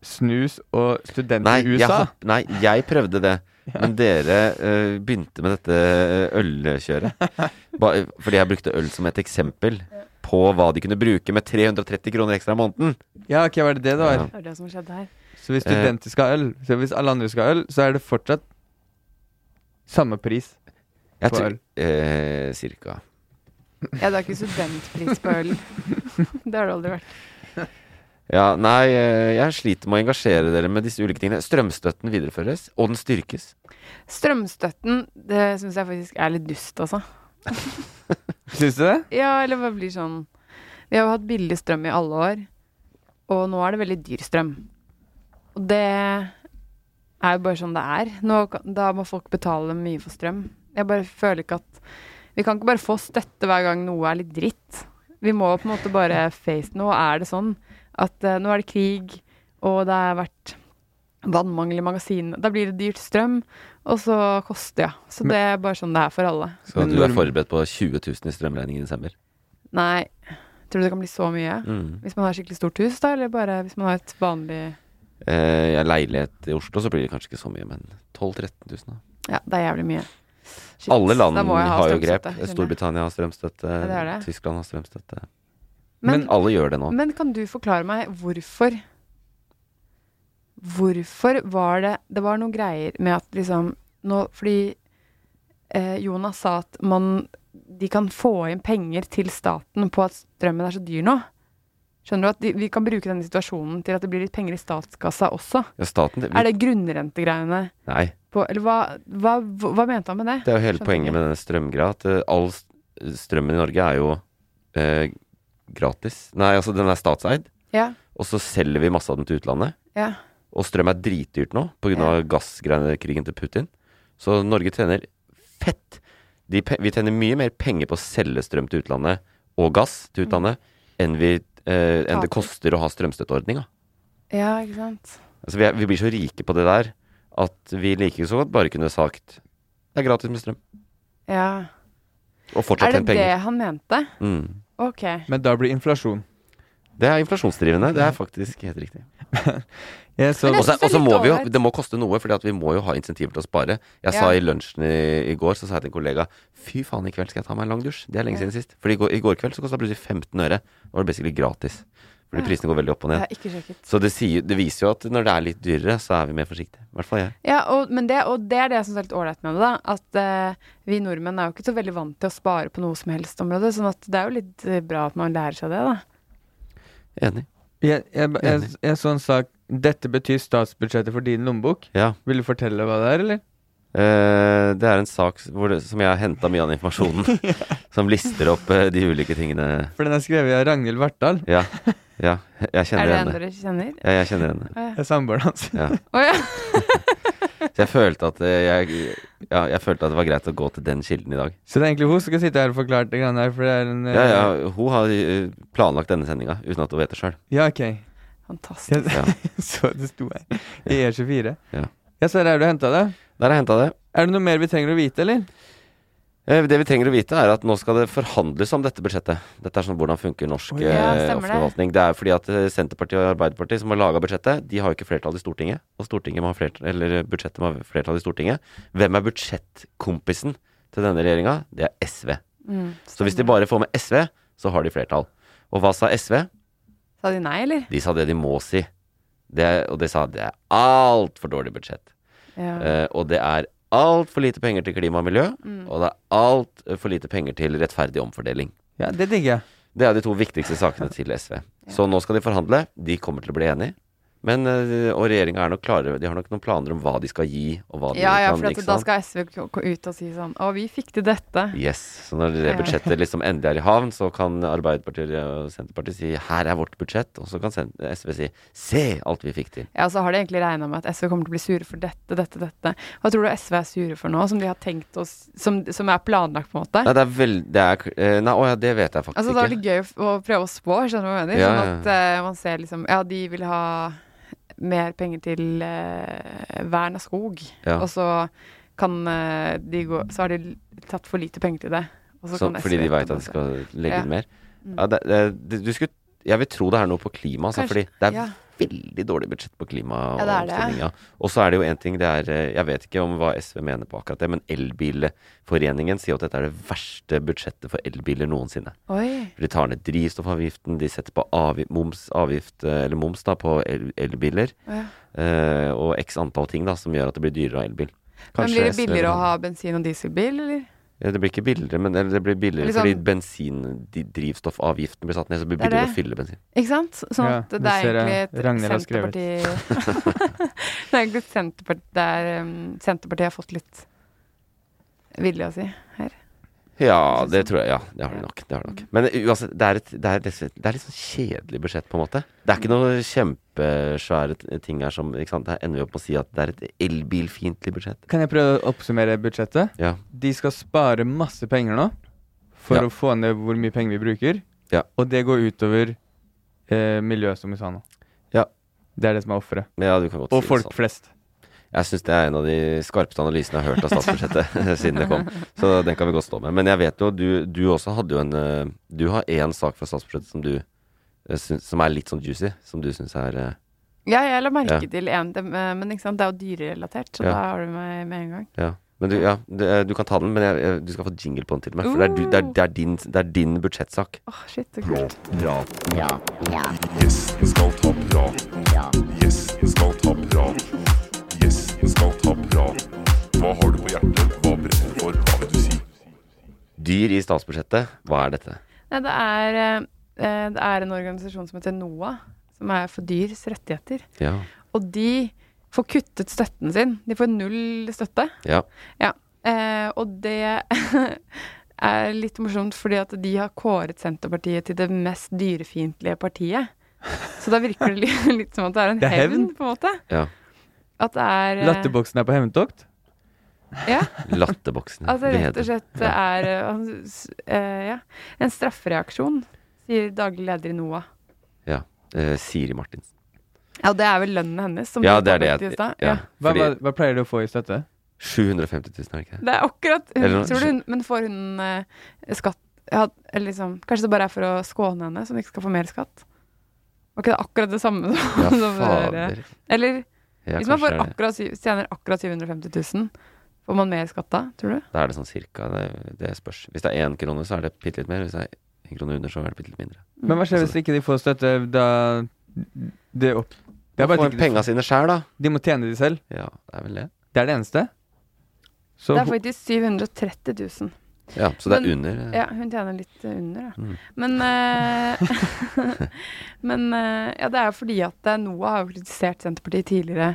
snus og
Nei,
studenter i
jeg,
USA.
hopp- nei, jeg prøvde det. Men dere eh, begynte med dette eh, ølkjøret. Ba, fordi jeg brukte øl som et eksempel på hva de kunne bruke med 330 kroner ekstra i måneden.
Ja, ok, var det det det var?
Ja.
Det var det som skjedde her.
Så hvis studenter skal ha øl, så hvis alle andre skal ha øl, så er det fortsatt samme pris
Jeg
på
tror,
øl.
eh, cirka.
Ja, det er ikke studentpris på øl. det har det aldri vært.
Ja, nei, eh, jeg sliter med å engasjere dere med disse ulike tingene. Strømstøtten videreføres, og den styrkes.
Strømstøtten, det syns jeg faktisk er litt dust, altså.
Syns du det?
Ja, eller hva blir sånn Vi har jo hatt billig strøm i alle år, og nå er det veldig dyr strøm. Og det er jo bare sånn det er. Nå, kan- da må folk betale mye for strøm. Jeg bare føler ikke at Vi kan ikke bare få støtte hver gang noe er litt dritt. Vi må på en måte bare face Nå er det sånn at eh, nå er det krig, og det har vært vannmangel i magasinene. Da blir det dyrt strøm, og så koster ja. Så det er bare sånn det er for alle.
Så
Men
du er
når-
forberedt på 20 000 i strømregning i desember.
Nei. Tror du det kan bli så mye? Hvis man har skikkelig stort hus, da? Eller bare hvis man har et vanlig
Eh, jeg har leilighet i Oslo, så blir det kanskje ikke så mye, men 12 000-13 000, da.
Ja, det er jævlig mye. Shit,
Alle land
da må jeg ha
har jo grep.
strømstøtte, skjønner jeg.
Storbritannia har strømstøtte,
det er det.
Tyskland har strømstøtte.
Men,
Alle gjør det nå.
men kan du forklare meg hvorfor Hvorfor var det Det var noen greier med at liksom nå, Fordi eh, Jonas sa at man De kan få inn penger til staten på at strømmen er så dyr nå. Skjønner du at de, vi kan bruke denne situasjonen til at det blir litt penger i statskassa også?
Ja, staten det,
Er det grunnrentegreiene?
Nei.
på Eller hva, hva, hva mente han med det?
Det er jo hele
Skjønner
poenget
ikke.
med denne strømgreia. At eh, all s- strømmen i Norge er jo eh, gratis. Nei, altså den er statseid.
Ja,
Og så selger vi masse av den til utlandet.
ja.
Og strøm er dritdyrt nå pga.
Ja.
av gassgreiene krigen til Putin. Så Norge tjener fett. De, pe- vi tjener mye mer penger på å selge strøm til utlandet og gass til utlandet enn, vi, eh, enn det
Mm. Taper.
koster å ha strømstøtteordninga.
Ja, ikke sant.
Altså, vi, er, vi blir så rike på det der at vi like så godt bare kunne sagt det er gratis med strøm.
Ja.
Og fortsatt
Er det
tjene
det
penger.
han mente?
Mm.
Ok.
Men da blir inflasjon.
Det er inflasjonsdrivende.
Mm.
Det er faktisk helt riktig.
Jeg så
Men
Og så
det- synes det er
og så
litt
må vi jo
ålreit.
Det må koste noe, for vi må jo ha insentiver til å spare. Jeg sa
Ja.
i lunsjen i, i går Så sa jeg til en kollega Fy faen, i kveld skal jeg ta meg en lang dusj. Det er lenge siden sist. For i går, i går kveld så kosta det plutselig 15 øre. Da var det basically gratis. Fordi prisene går veldig opp og
Jeg
ned.
har ikke sjekket.
Så det, sier, det viser jo at når det er litt dyrere, så er vi mer forsiktige. I hvert fall jeg.
Ja, og, men det, og det er det jeg syns er litt ålreit med det, da. At eh, vi nordmenn er jo ikke så veldig vant til å spare på noe som helst område. Sånn at det er jo litt eh, bra at man lærer seg det, da.
Enig.
Jeg, jeg, jeg,
Enig.
jeg så en sak Dette betyr statsbudsjettet for din lommebok.
Ja.
Vil du fortelle hva det er, eller?
Eh, det er en sak s- hvor det, som jeg har henta mye av den informasjonen. Som lister opp eh, de ulike tingene.
For den er skrevet av Ragnhild Vartdal.
Ja, ja jeg
Er
kjenner
det en
henne.
dere kjenner?
Ja, jeg kjenner henne.
Å ja.
Jeg er samboeren hans.
Ja.
Å ja.
Så jeg følte at eh, jeg, ja, jeg følte at det var greit å gå til den kilden i dag.
Så det er egentlig hun som skal sitte her og forklare det greiene her, for det er en eh,
Ja, ja, hun har eh, planlagt denne sendinga uten at hun vet det sjøl.
ja, ok.
Fantastisk.
Jeg
Ja.
så det sto her i E E24.
Ja.
Ja, så der har du henta det.
Der har jeg henta det.
Er det noe mer vi trenger å vite, eller?
Eh, Det vi trenger å vite, er at nå skal det forhandles om dette budsjettet. Dette er sånn hvordan funker norsk
Oi, ja,
eh,
stemmer
offentlig
det.
forvaltning. Det er fordi at eh, Senterpartiet og Arbeiderpartiet, som har laga budsjettet, de har jo ikke flertall i Stortinget. Og Stortinget må ha flertall, eller eh, budsjettet må ha flertall i Stortinget. Hvem er budsjettkompisen til denne regjeringa? Det er SV.
Mm.
Så hvis de bare får med SV, så har de flertall. Og hva sa SV?
Sa de nei, eller?
De sa det de må si. Det, og de sa det er altfor dårlig budsjett.
Ja.
Eh, og det er altfor lite penger til klima og miljø,
Mm.
og det er altfor lite penger til rettferdig omfordeling.
Ja, det digger jeg.
Det er de to viktigste sakene til SV. Så nå skal de forhandle. De kommer til å bli enige. Men, eh, og regjeringa er nok klare, de har nok noen planer om hva de skal gi, og hva de
Ja, ja,
kan
for at,
ikke
da
sant?
skal SV gå gå ut og si sånn Å, vi fikk til dette.
Yes, Så når det
Ja.
budsjettet liksom endelig er i havn, så kan Arbeiderpartiet og Senterpartiet si 'her er vårt budsjett', og så kan Sen- SV si 'se alt vi fikk til'.
Ja, og så har de egentlig regna med at SV kommer til å bli sure for dette, dette, dette. Hva tror du SV er sure for nå, som de har tenkt å s- Som, som er planlagt, på en måte?
Nei, det er vel... Det er, eh, nei, å ja, det vet jeg faktisk
Altså, det
ikke.
er litt gøy å f- å prøve å spå, skjønner du hva jeg mener?
Ja,
Sånn at eh, man ser liksom Ja, de vil ha mer penger til eh, vern av skog,
Ja.
og så kan eh, de gå Så har de l- tatt for lite penger til det. Og så
Så,
kan
fordi
SV
de veit
på en
at de
måte-
skal legge
Ja. Mm.
inn mer. Ja, det, det, det, du skulle, jeg vil tro det er noe på klima, altså,
Kanskje-
fordi det er
ja.
veldig dårlig budsjett på klima. Og
Ja, det er det.
omstillinga. Og så er det jo én ting det er eh, Jeg vet ikke om hva SV mener på akkurat det, men Elbilforeningen sier at dette er det verste budsjettet for elbiler noensinne.
Oi.
For De tar ned drivstoffavgiften, de setter på avgift, moms, avgift, eh, eller moms da, på el, elbiler.
Ja.
eh, og x antall ting da, som gjør at det blir dyrere av elbil.
Men blir det
SV
billigere å
vil-
ha bensin- og dieselbil, eller?
ja, det blir ikke billigere, men eller det blir billigere
Liksom-
fordi bensindrivstoffavgiften blir satt ned, så blir det
Det er
billigere å
det.
fylle bensin.
Ikke sant? Sånn
Ja,
at det,
nå
er
ser jeg
egentlig et
Ragnhild har skrevet.
Senterparti Det er egentlig et Senterparti der um, Senterpartiet har fått litt vilje å si.
Ja,
Jeg
det
synes det.
tror jeg. Ja, det har de nok. Det har de nok. Men eh, uansett, det er et det er, det er- det er litt sånn kjedelig budsjett, på en måte. Det er ikke noe kjempesvære t- ting her som ikke sant? Her ender vi opp med å si at det er et elbilfiendtlig budsjett.
Kan jeg prøve å oppsummere budsjettet?
Ja.
De skal spare masse penger nå for
Ja.
å få ned hvor mye penger vi bruker.
Ja.
Og det går utover eh, miljøet, som vi sa nå.
Ja.
Det er det som er offeret.
Men ja, du kan godt
Og
si
folk
det sånn.
flest.
Jeg syns det er en av de skarpeste analysene jeg har hørt av statsbudsjettet siden det kom. Så den kan vi godt stå med. Men jeg vet jo, du, du også hadde jo en eh, Du har én sak fra statsbudsjettet som du eh, syns, Som er litt sånn juicy, som du syns er eh,
Ja, jeg la merke
Ja.
til en, dem, eh, men ikke sant? det er jo dyrerelatert, så
Ja.
da har du meg med en gang.
Ja, men du, ja, du, eh, du kan ta den, men jeg, jeg, du skal få jingle på den til meg. For det er, du, det er, det er, din, det er din budsjettsak.
Åh, shit, så kult.
Gjesten skal ta praten. Gjesten skal ta praten. Gjesten skal ta praten. Hva har du på hjertet? Hva brenner du for? Hva vil du si?
Dyr i statsbudsjettet, hva er dette?
Nei, det er, eh, eh, det er en organisasjon som heter NOAH, som er for dyrs rettigheter.
Ja.
Og de får kuttet støtten sin. De får null støtte.
ja.
Eh, og det er litt morsomt, fordi at de har kåret Senterpartiet til det mest dyrefiendtlige partiet. Så da virker det litt, litt som at det er en
Det er
hevn,
hevn.
på en måte.
ja.
At det er eh,
Latterboksen er på hevntokt.
Ja,
Latterboksen.
altså rett
Vedum.
og slett det er eh, han s- eh, ja, en straffereaksjon, sier daglig leder i NOAH.
Ja. Eh, Siri Martinsen.
Ja, og det er vel lønnen hennes, som
Ja,
du
det er det
tok opp i
jeg
stad.
ja.
Ja.
Hva, hva,
Fordi
hva pleier du å få i støtte?
750 000, er det ikke det?
Det er akkurat hun,
Eller noe-
tror du hun, Men får hun eh, skatt ja, eller liksom, Kanskje det bare er for å skåne henne, så hun ikke skal få mer skatt? Var ikke det akkurat det samme som,
Ja,
som det der, eh,
fader.
Eller
Ja,
hvis
kanskje
man får
det er det.
akkurat, syv- tjener akkurat 750 000, får man mer skatt da, tror du?
Da er det sånn cirka. Det, det spørs. Hvis det er én krone, så er det bitte litt mer. Hvis det er én krone under, så er det bitte litt mindre.
Men hva skjer hvis
Altså-
ikke de får støtte? Da det opp... Det er
Få
bare at
inn
ikke de,
penga sine sjæl, da.
de må tjene de selv.
Ja, det er vel det.
Det er det eneste. Så
Det er faktisk 730 000.
Ja, så det er
Men-
under. eh,
Ja, hun tjener litt eh, under, da.
Mm.
Men, eh, men eh, ja, det er jo fordi at eh, NOAH har jo kritisert Senterpartiet tidligere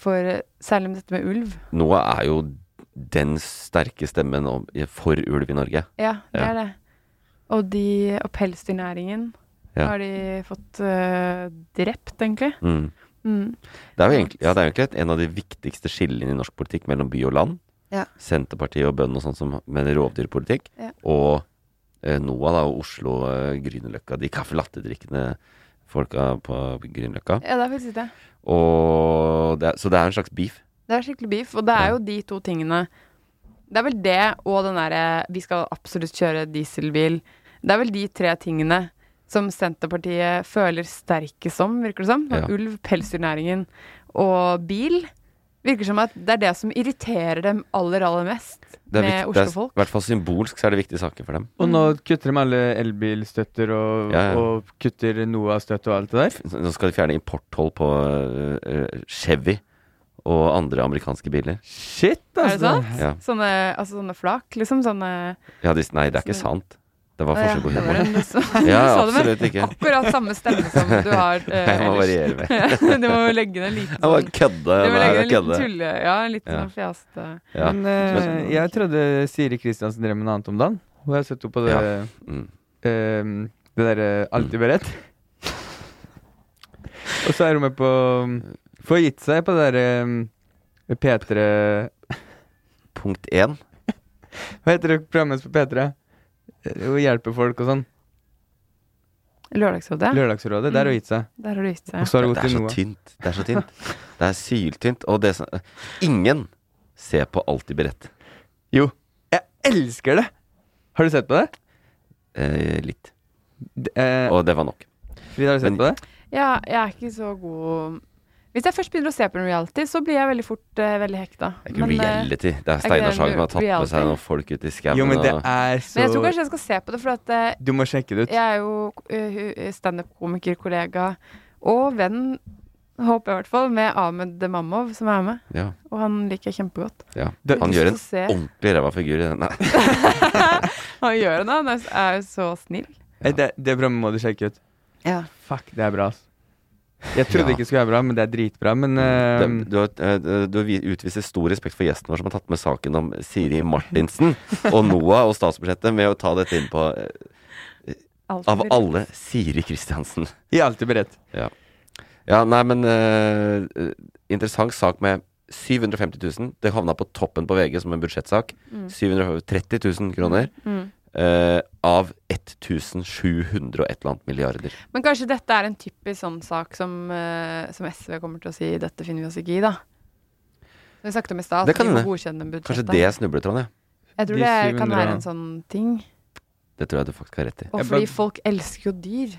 for eh, særlig med dette med ulv.
Noah er jo den sterke stemmen om, for ulv i Norge.
Ja, det
Ja.
er det. Og, de, og pelsdyrnæringen
Ja.
har de fått eh, drept, egentlig.
Mm.
Mm.
Det er jo egentlig, ja, det er jo egentlig et, en av de viktigste skillene i norsk politikk mellom by og land.
Ja.
Senterpartiet og bøndene og sånn som med rovdyrpolitikk.
Ja.
Og eh, NOAH da, og Oslo, eh, Grünerløkka, de caffè latte-drikkende folka på Grünerløkka.
Ja, det er faktisk det.
Og det er, så det er en slags beef.
Det er skikkelig beef. Og det er jo de to tingene Det er vel det og den derre 'vi skal absolutt kjøre dieselbil'. Det er vel de tre tingene som Senterpartiet føler sterkest om, virker det som.
Ja.
Ulv, pelsdyrnæringen og bil. Virker som at det er det som irriterer dem aller, aller mest
Det er,
med
viktig, det er
Oslo-folk.
i hvert fall symbolsk så er det viktige saker for dem.
Og nå kutter de alle elbilstøtter og,
Ja, ja.
og kutter NOAH-støtt og alt det der.
Nå skal de fjerne importtoll på øh, øh, Chevy og andre amerikanske biler.
Shit,
Er det
altså!
sant?
Ja.
Sånne, altså sånne flak, liksom. Sånne
Ja, de, nei, det er ikke sant. Det var
Ja,
forsøk på
det var
humor.
en- så-
Ja,
sa det med
absolutt ikke.
Akkurat samme stemme som du har eh,
Jeg må
ellers.
variere mer.
du må jo legge ned en liten
Jeg bare
sånn-
kødda.
du må
det her
legge
er
ned en
kødde.
liten tulle Ja, en liten
Ja.
sånn fjaste
Ja.
Men eh, jeg trodde Siri Kristiansen drev med noe annet om dagen. Hun har sett henne på det
Ja. Mm.
eh, Det derre Alltid beredt. og så er hun med på Får gitt seg på det ehm, derre P3
Punkt én.
Hva heter det programmet på P3? Eh, Hun hjelper folk og sånn.
Lørdagsrådet,
Lørdagsrådet. Der har hun gitt seg.
der har du gitt seg
Og så har hun
Det
gått
er
til
så
NOAH.
tynt. Det er så tynt. Det er syltynt. Og det som Ingen ser på Alltid beredt.
Jo. Jeg elsker det! Har du sett på det?
Eh, litt.
D- Eh,
Og det var nok.
Frida, har du sett
men-
på det?
Ja, jeg er ikke så god Hvis jeg først begynner å se på en reality Så blir jeg veldig fort eh, veldig hekta
Det er ikke
eh,
reality. Det er
er ikke det
Steinar Sagen som har tatt med seg
reality?
noen folk ut i skauen.
Jo, men det
og-
er
Men jeg tror
så
kanskje jeg skal se på det For at eh,
Du må sjekke det ut.
jeg er jo eh, stand-up-komiker-kollega Og venn Håper jeg i hvert fall Med Ahmed Mamov som er med
ja,
Og han liker jeg kjempegodt
ja.
Det-
Han gjør en
Lyst til å se.
ordentlig ræva figur i den. Nei.
Han gjør det, han er- er jo så snill.
Eh, Det, det programmet må du sjekke ut.
Ja.
Fuck, det er bra, ass. Jeg
Ja.
trodde ikke det skulle være bra, men det er dritbra. Men eh,
Det- Du, har- eh, du har vi- utviser stor respekt for gjesten vår som har tatt med saken om Siri Martinsen og Noah og statsbudsjettet med å ta dette inn på eh, Av alle Siri Kristiansen.
jeg er alltid beredt.
Ja, nei, men eh, eh, Interessant sak med 750 000. Det havna på toppen på VG som en budsjettsak. 730 000 kroner.
Mm.
eh, av 1700 og et eller annet milliarder.
Men kanskje dette er en typisk sånn sak som, eh, som SV kommer til å si dette finner vi oss ikke i, da. Som vi snakket om i stad,
Det
at
kan
de må
hende.
godkjenne budsjettet.
Kanskje det er snubletråden, ja.
Jeg tror
De
det kan
700
være en sånn ting.
Det tror jeg du faktisk har rett i.
Og
Jeg bare-
fordi folk elsker jo dyr.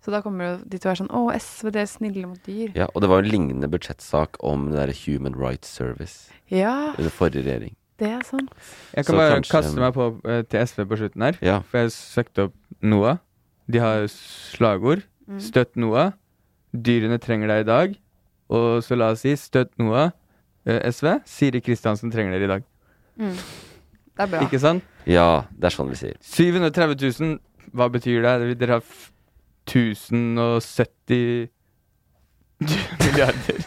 Så da kommer jo de til å være sånn Å, SV, dere er snille mot dyr.
Ja, og det var jo en lignende budsjettsak om det derre Human Rights Service
Ja,
under forrige regjering.
det er sant.
Jeg kan
Så
bare
kanskje-
kaste meg på eh, til SV på slutten her.
Ja.
For jeg søkte opp NOAH. De har slagord. Støtt NOAH. Dyrene trenger deg i dag. Og så la oss si støtt NOAH. eh, SV. Siri Kristiansen trenger dere i dag.
Mm. Det er bra.
Ikke sant?
ja, det er sånn vi sier.
730 000, hva betyr det? Dere har f- 1070 milliarder.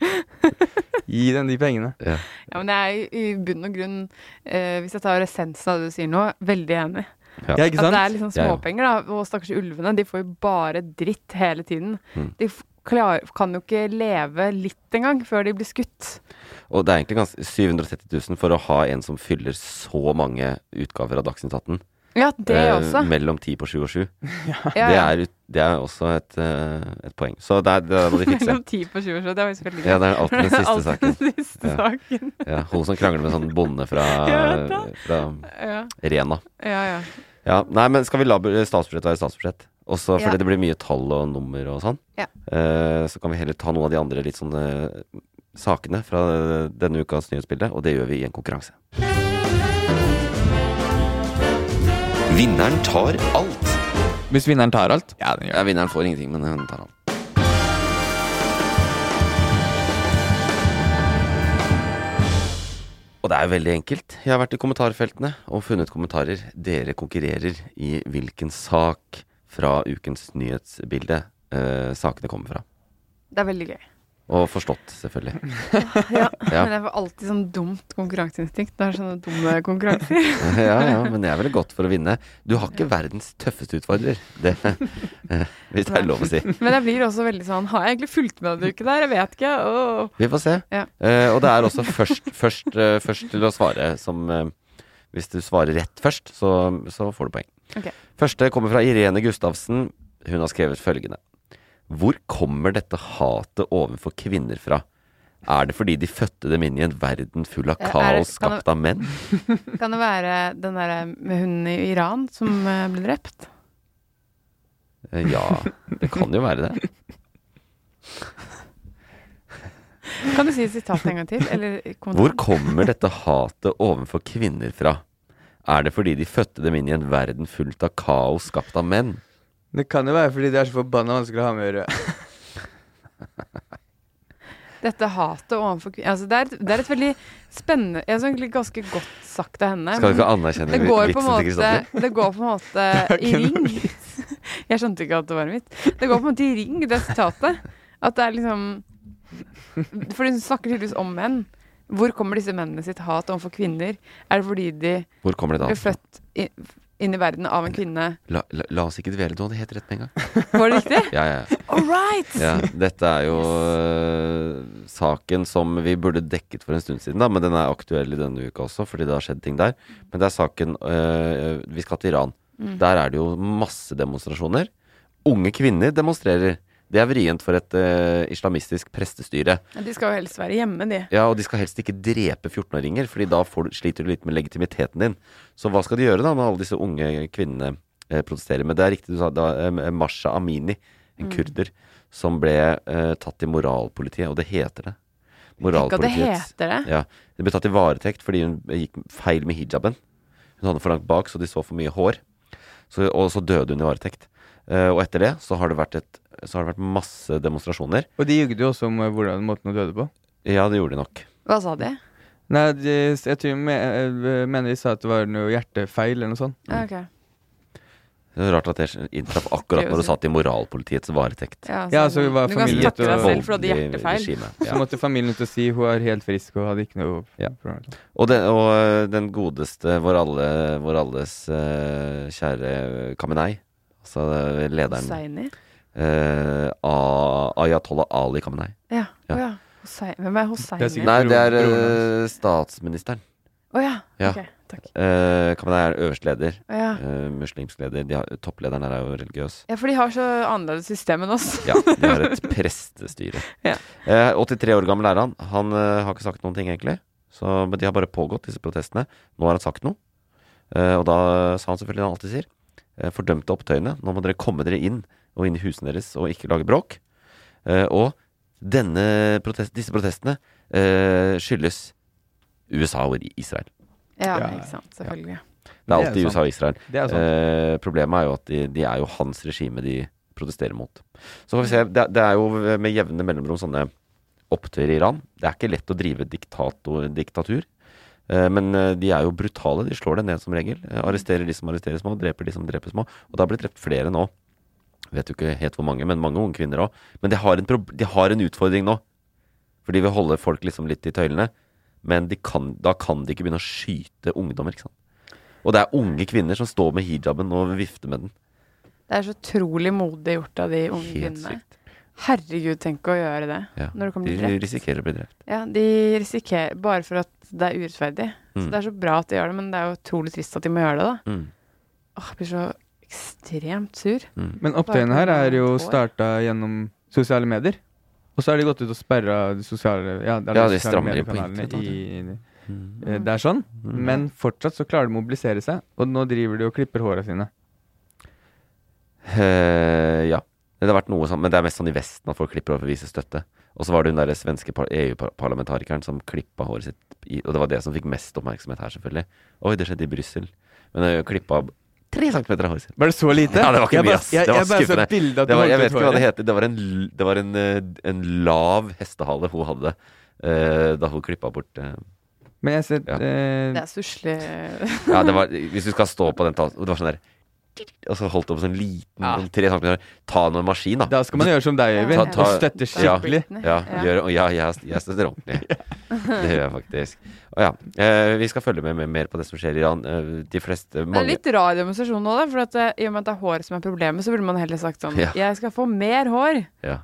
Gi dem de pengene.
Ja.
Ja, men jeg er i i bunn og grunn, eh, hvis jeg tar essensen av det du sier nå, veldig enig.
Ja, ikke
At det er
sant?
liksom
Ja, ja.
småpenger, da. Og stakkars ulvene, de får jo bare dritt hele tiden.
Mm.
De f- klar, kan jo ikke leve litt engang før de blir skutt.
Og det er egentlig ganske 730 000 for å ha en som fyller så mange utgaver av Dagsnytt 18.
Ja, det
eh,
også.
Mellom 10 på 7 og 7.
Ja,
Det,
ja.
er, ut- det er også et, eh, et poeng. Så det er det er må de fikse.
Mellom 10 på 20 år, så det er faktisk veldig
Ja, det er alltid den siste
Alt
saken.
Den siste
Ja.
saken.
Ja, hun som krangler med sånn bonde fra,
Ja, da.
fra
Ja,
Rena.
ja. ja.
Ja, nei, men skal vi la bu- statsbudsjett være statsbudsjett? Også fordi
Ja.
det blir mye tall og nummer og sånn.
Ja.
Eh, så kan vi heller ta noen av de andre litt sånne eh, sakene fra eh, denne ukas nyhetsbilde, og det gjør vi i en konkurranse.
Vinneren tar alt.
Hvis vinneren tar alt. Ja, den
Ja, vinneren får ingenting, men hun tar han. Og det er jo veldig enkelt. Jeg har vært i kommentarfeltene og funnet kommentarer. Dere konkurrerer i hvilken sak fra ukens nyhetsbilde eh, sakene kommer fra.
Det er veldig gøy.
Og forstått, selvfølgelig. Ja.
Men jeg får alltid sånn dumt konkurranseinstinkt. Det er sånne dumme konkurranser.
ja, ja, men jeg er veldig godt for å vinne. Du har ikke verdens tøffeste utfordrer, det, eh, hvis det er lov å si.
Men jeg blir også veldig sånn Har jeg egentlig fulgt med denne uken der? Jeg vet ikke. Åh.
Vi får se.
Ja.
Eh, og det er også først, først, eh, først til å svare som eh, Hvis du svarer rett først, så, så får du poeng.
Ok.
Første kommer fra Irene Gustavsen. Hun har skrevet følgende. Hvor kommer dette hatet overfor kvinner fra? Er det fordi de fødte dem inn i en verden full av
Eh, Er det-
kaos
kan det-
skapt av menn?
Kan det være den derre med hunden i Iran som eh, ble drept?
Eh, Ja, det kan jo være det.
Kan du si sitatet en gang til? Eller
Hvor
kommentaren?
kommer dette hatet overfor kvinner fra? Er det fordi de fødte dem inn i en verden fullt av kaos skapt av menn?
Det kan jo være fordi det er så forbanna vanskelig å ha med å gjøre.
Dette hatet overfor kvinner altså, det, er et- det er et veldig spennende Jeg synes egentlig ganske godt sagt av henne.
Skal du
men-
ikke anerkjenne
Det går, på en
vitsen til
måte,
Kristoffer?
det går på en måte i
ikke noe
ring. Jeg skjønte ikke at det var mitt. Det går på en måte i ring, det sitatet. At det er liksom For hun snakker tydeligvis om menn. Hvor kommer disse mennene sitt hat overfor kvinner? Er det fordi de
Hvor kommer det da?
ble
fra?
født i- inn i verden av en kvinne?
La, la, la oss ikke dvele, du hadde helt rett med en gang.
Var det riktig?
Ja, ja, ja.
All right!
Ja, dette er jo øh, saken som vi burde dekket for en stund siden, da, men den er aktuell i denne uka også, fordi det har skjedd ting der. Men det er saken øh, Vi skal til Iran.
Mm.
Der er det jo masse demonstrasjoner. Unge kvinner demonstrerer. Det er vrient for et øh, islamistisk prestestyre.
De skal jo helst være hjemme, de.
Ja, Og de skal helst ikke drepe 14-åringer, Fordi da får du, sliter du litt med legitimiteten din. Så hva skal de gjøre da når alle disse unge kvinnene eh, protesterer? Men det er riktig du sa, da, eh, Masha Amini,
Mm.
en kurder, som ble eh, tatt i moralpolitiet. Og det heter det.
Tenk at det
Moralpolitiets
heter det.
ja. Hun ble tatt i varetekt fordi hun gikk feil med hijaben. Hun hadde for langt bak, så de så for mye hår. Så, og så døde hun i varetekt. Eh, og etter det så har det vært, et, så har det vært masse demonstrasjoner.
Og de jugde jo også om eh, hvordan måten hun døde på.
Ja, det gjorde de nok.
Hva sa de?
Nei, de, jeg tror, me, eh, mener de sa at det var noe hjertefeil eller noe sånt.
Ja, ok.
Det er Rart at det inntraff akkurat når du satt i moralpolitiets varetekt.
Ja,
Ja, så var
du kan
familien
takke
til
deg
å-
selv for at du hadde
Voldelig
hjertefeil.
regime,
Så
Ja.
måtte familien ut og si hun er helt frisk og hadde ikke noe
Ja.
problem.
Og, den, og øh, den godeste vår, alle, vår alles øh, kjære Kamenei, altså øh, lederen
Hosseini?
øh, A- Ayatollah Ali Kamenei.
Ja.
Ja.
Å ja. Hosseini. Hvem er
Det er
Hosseini?
sikkert-
Nei, det er
broren
øh, statsministeren.
Å ja.
Ja.
Ok, takk.
Uh, Kamenei er øverste leder.
Å ja.
øh, muslimsk leder. De har, topplederen her er jo religiøs.
Ja, for de har så annerledes system enn oss.
Ja, de har et prestestyre.
Ja.
Eh, 83 år gammel er han. Han eh, har ikke sagt noen ting, egentlig. Så, men de har bare pågått, disse protestene. Nå har han sagt noe. Eh, og da sa han selvfølgelig det han alltid sier. Eh, fordømte opptøyene. Nå må dere komme dere inn, og inn i husene deres, og ikke lage bråk. Eh, og denne protest, disse protestene eh, skyldes USA og Israel.
Ja,
Ja.
ikke sant. Selvfølgelig.
Det er
Det er
alltid
sant.
USA og Israel.
Det er sant.
Eh, problemet er jo at de, de er jo hans regime de protesterer mot. Så får vi se. Det, det er jo med jevne mellomrom sånne opptøyer i Iran. Det er ikke lett å drive diktator, diktatur. Eh, Men eh, de er jo brutale. De slår deg ned som regel. Eh, Arresterer de som arresterer små, dreper de som dreper små. Og det har blitt drept flere nå. Vet jo ikke helt hvor mange, men mange unge kvinner òg. Men de har, en prob de har en utfordring nå. For de vil holde folk liksom litt i tøylene. Men de kan, da kan de ikke begynne å skyte ungdommer, ikke sant. Og det er unge kvinner som står med hijaben og vifter med den.
Det er så utrolig modig gjort av de unge
Helt
kvinnene. Herregud, tenk å gjøre det.
Ja.
Når det kommer
De
til drept.
risikerer å bli drept.
Ja, de risikerer bare for at det er urettferdig. Så
Mm.
det er så bra at de gjør det, men det er jo utrolig trist at de må gjøre det, da.
Mm.
Åh, jeg blir så ekstremt sur.
Men opptøyene her er jo starta gjennom sosiale medier. Og så har de gått ut og sperra de sosiale Ja, det er
Ja,
de
de
sosiale
strammer inn på
mediekanalene
internett,
i, eh, Det er sånn. Men fortsatt så klarer de å mobilisere seg, og nå driver de og klipper håra sine.
Eh, ja. Det har vært noe sånn, men det er mest sånn i Vesten at folk klipper over for å vise støtte. Og så var det hun derre svenske par- EU-parlamentarikeren som klippa håret sitt i Og det var det som fikk mest oppmerksomhet her, selvfølgelig. Oi, det skjedde i Brussel. Men hun klippa av tre centimeter av håret sitt.
Var det så lite?
Ja, det var ikke
Jeg
mye,
bare-
ass.
Jeg,
Det var
jeg bare så
skuffende.
bildet at
Det
du
var,
holdt
jeg vet
ut
ikke hva det
håret.
heter. Det var en, l- det var en, eh, en lav hestehale hun hadde eh, da hun klippa bort eh,
Men jeg ser
Ja.
eh,
Det er stusslig.
Ja, det var, hvis du skal stå på den talen Det var sånn der Og så holdt det opp sånn liten
Ja.
sånn tre centimeter Ta noen maskin da
Da skal man gjøre som deg,
Ja.
Øyvind,
Ta-
og støtte
Ja.
skikkelig.
ja, gjør, og ja, jeg, jeg støtter ordentlig Det gjør jeg faktisk Og ja, eh, vi skal følge med, med mer på det som skjer i Iran eh, De fleste,
Det er
mange
litt rar demonstrasjon nå, da. For at, eh, i og med at det er håret som er problemet, så burde man heller sagt sånn
Ja.
Jeg skal få mer hår.
ja.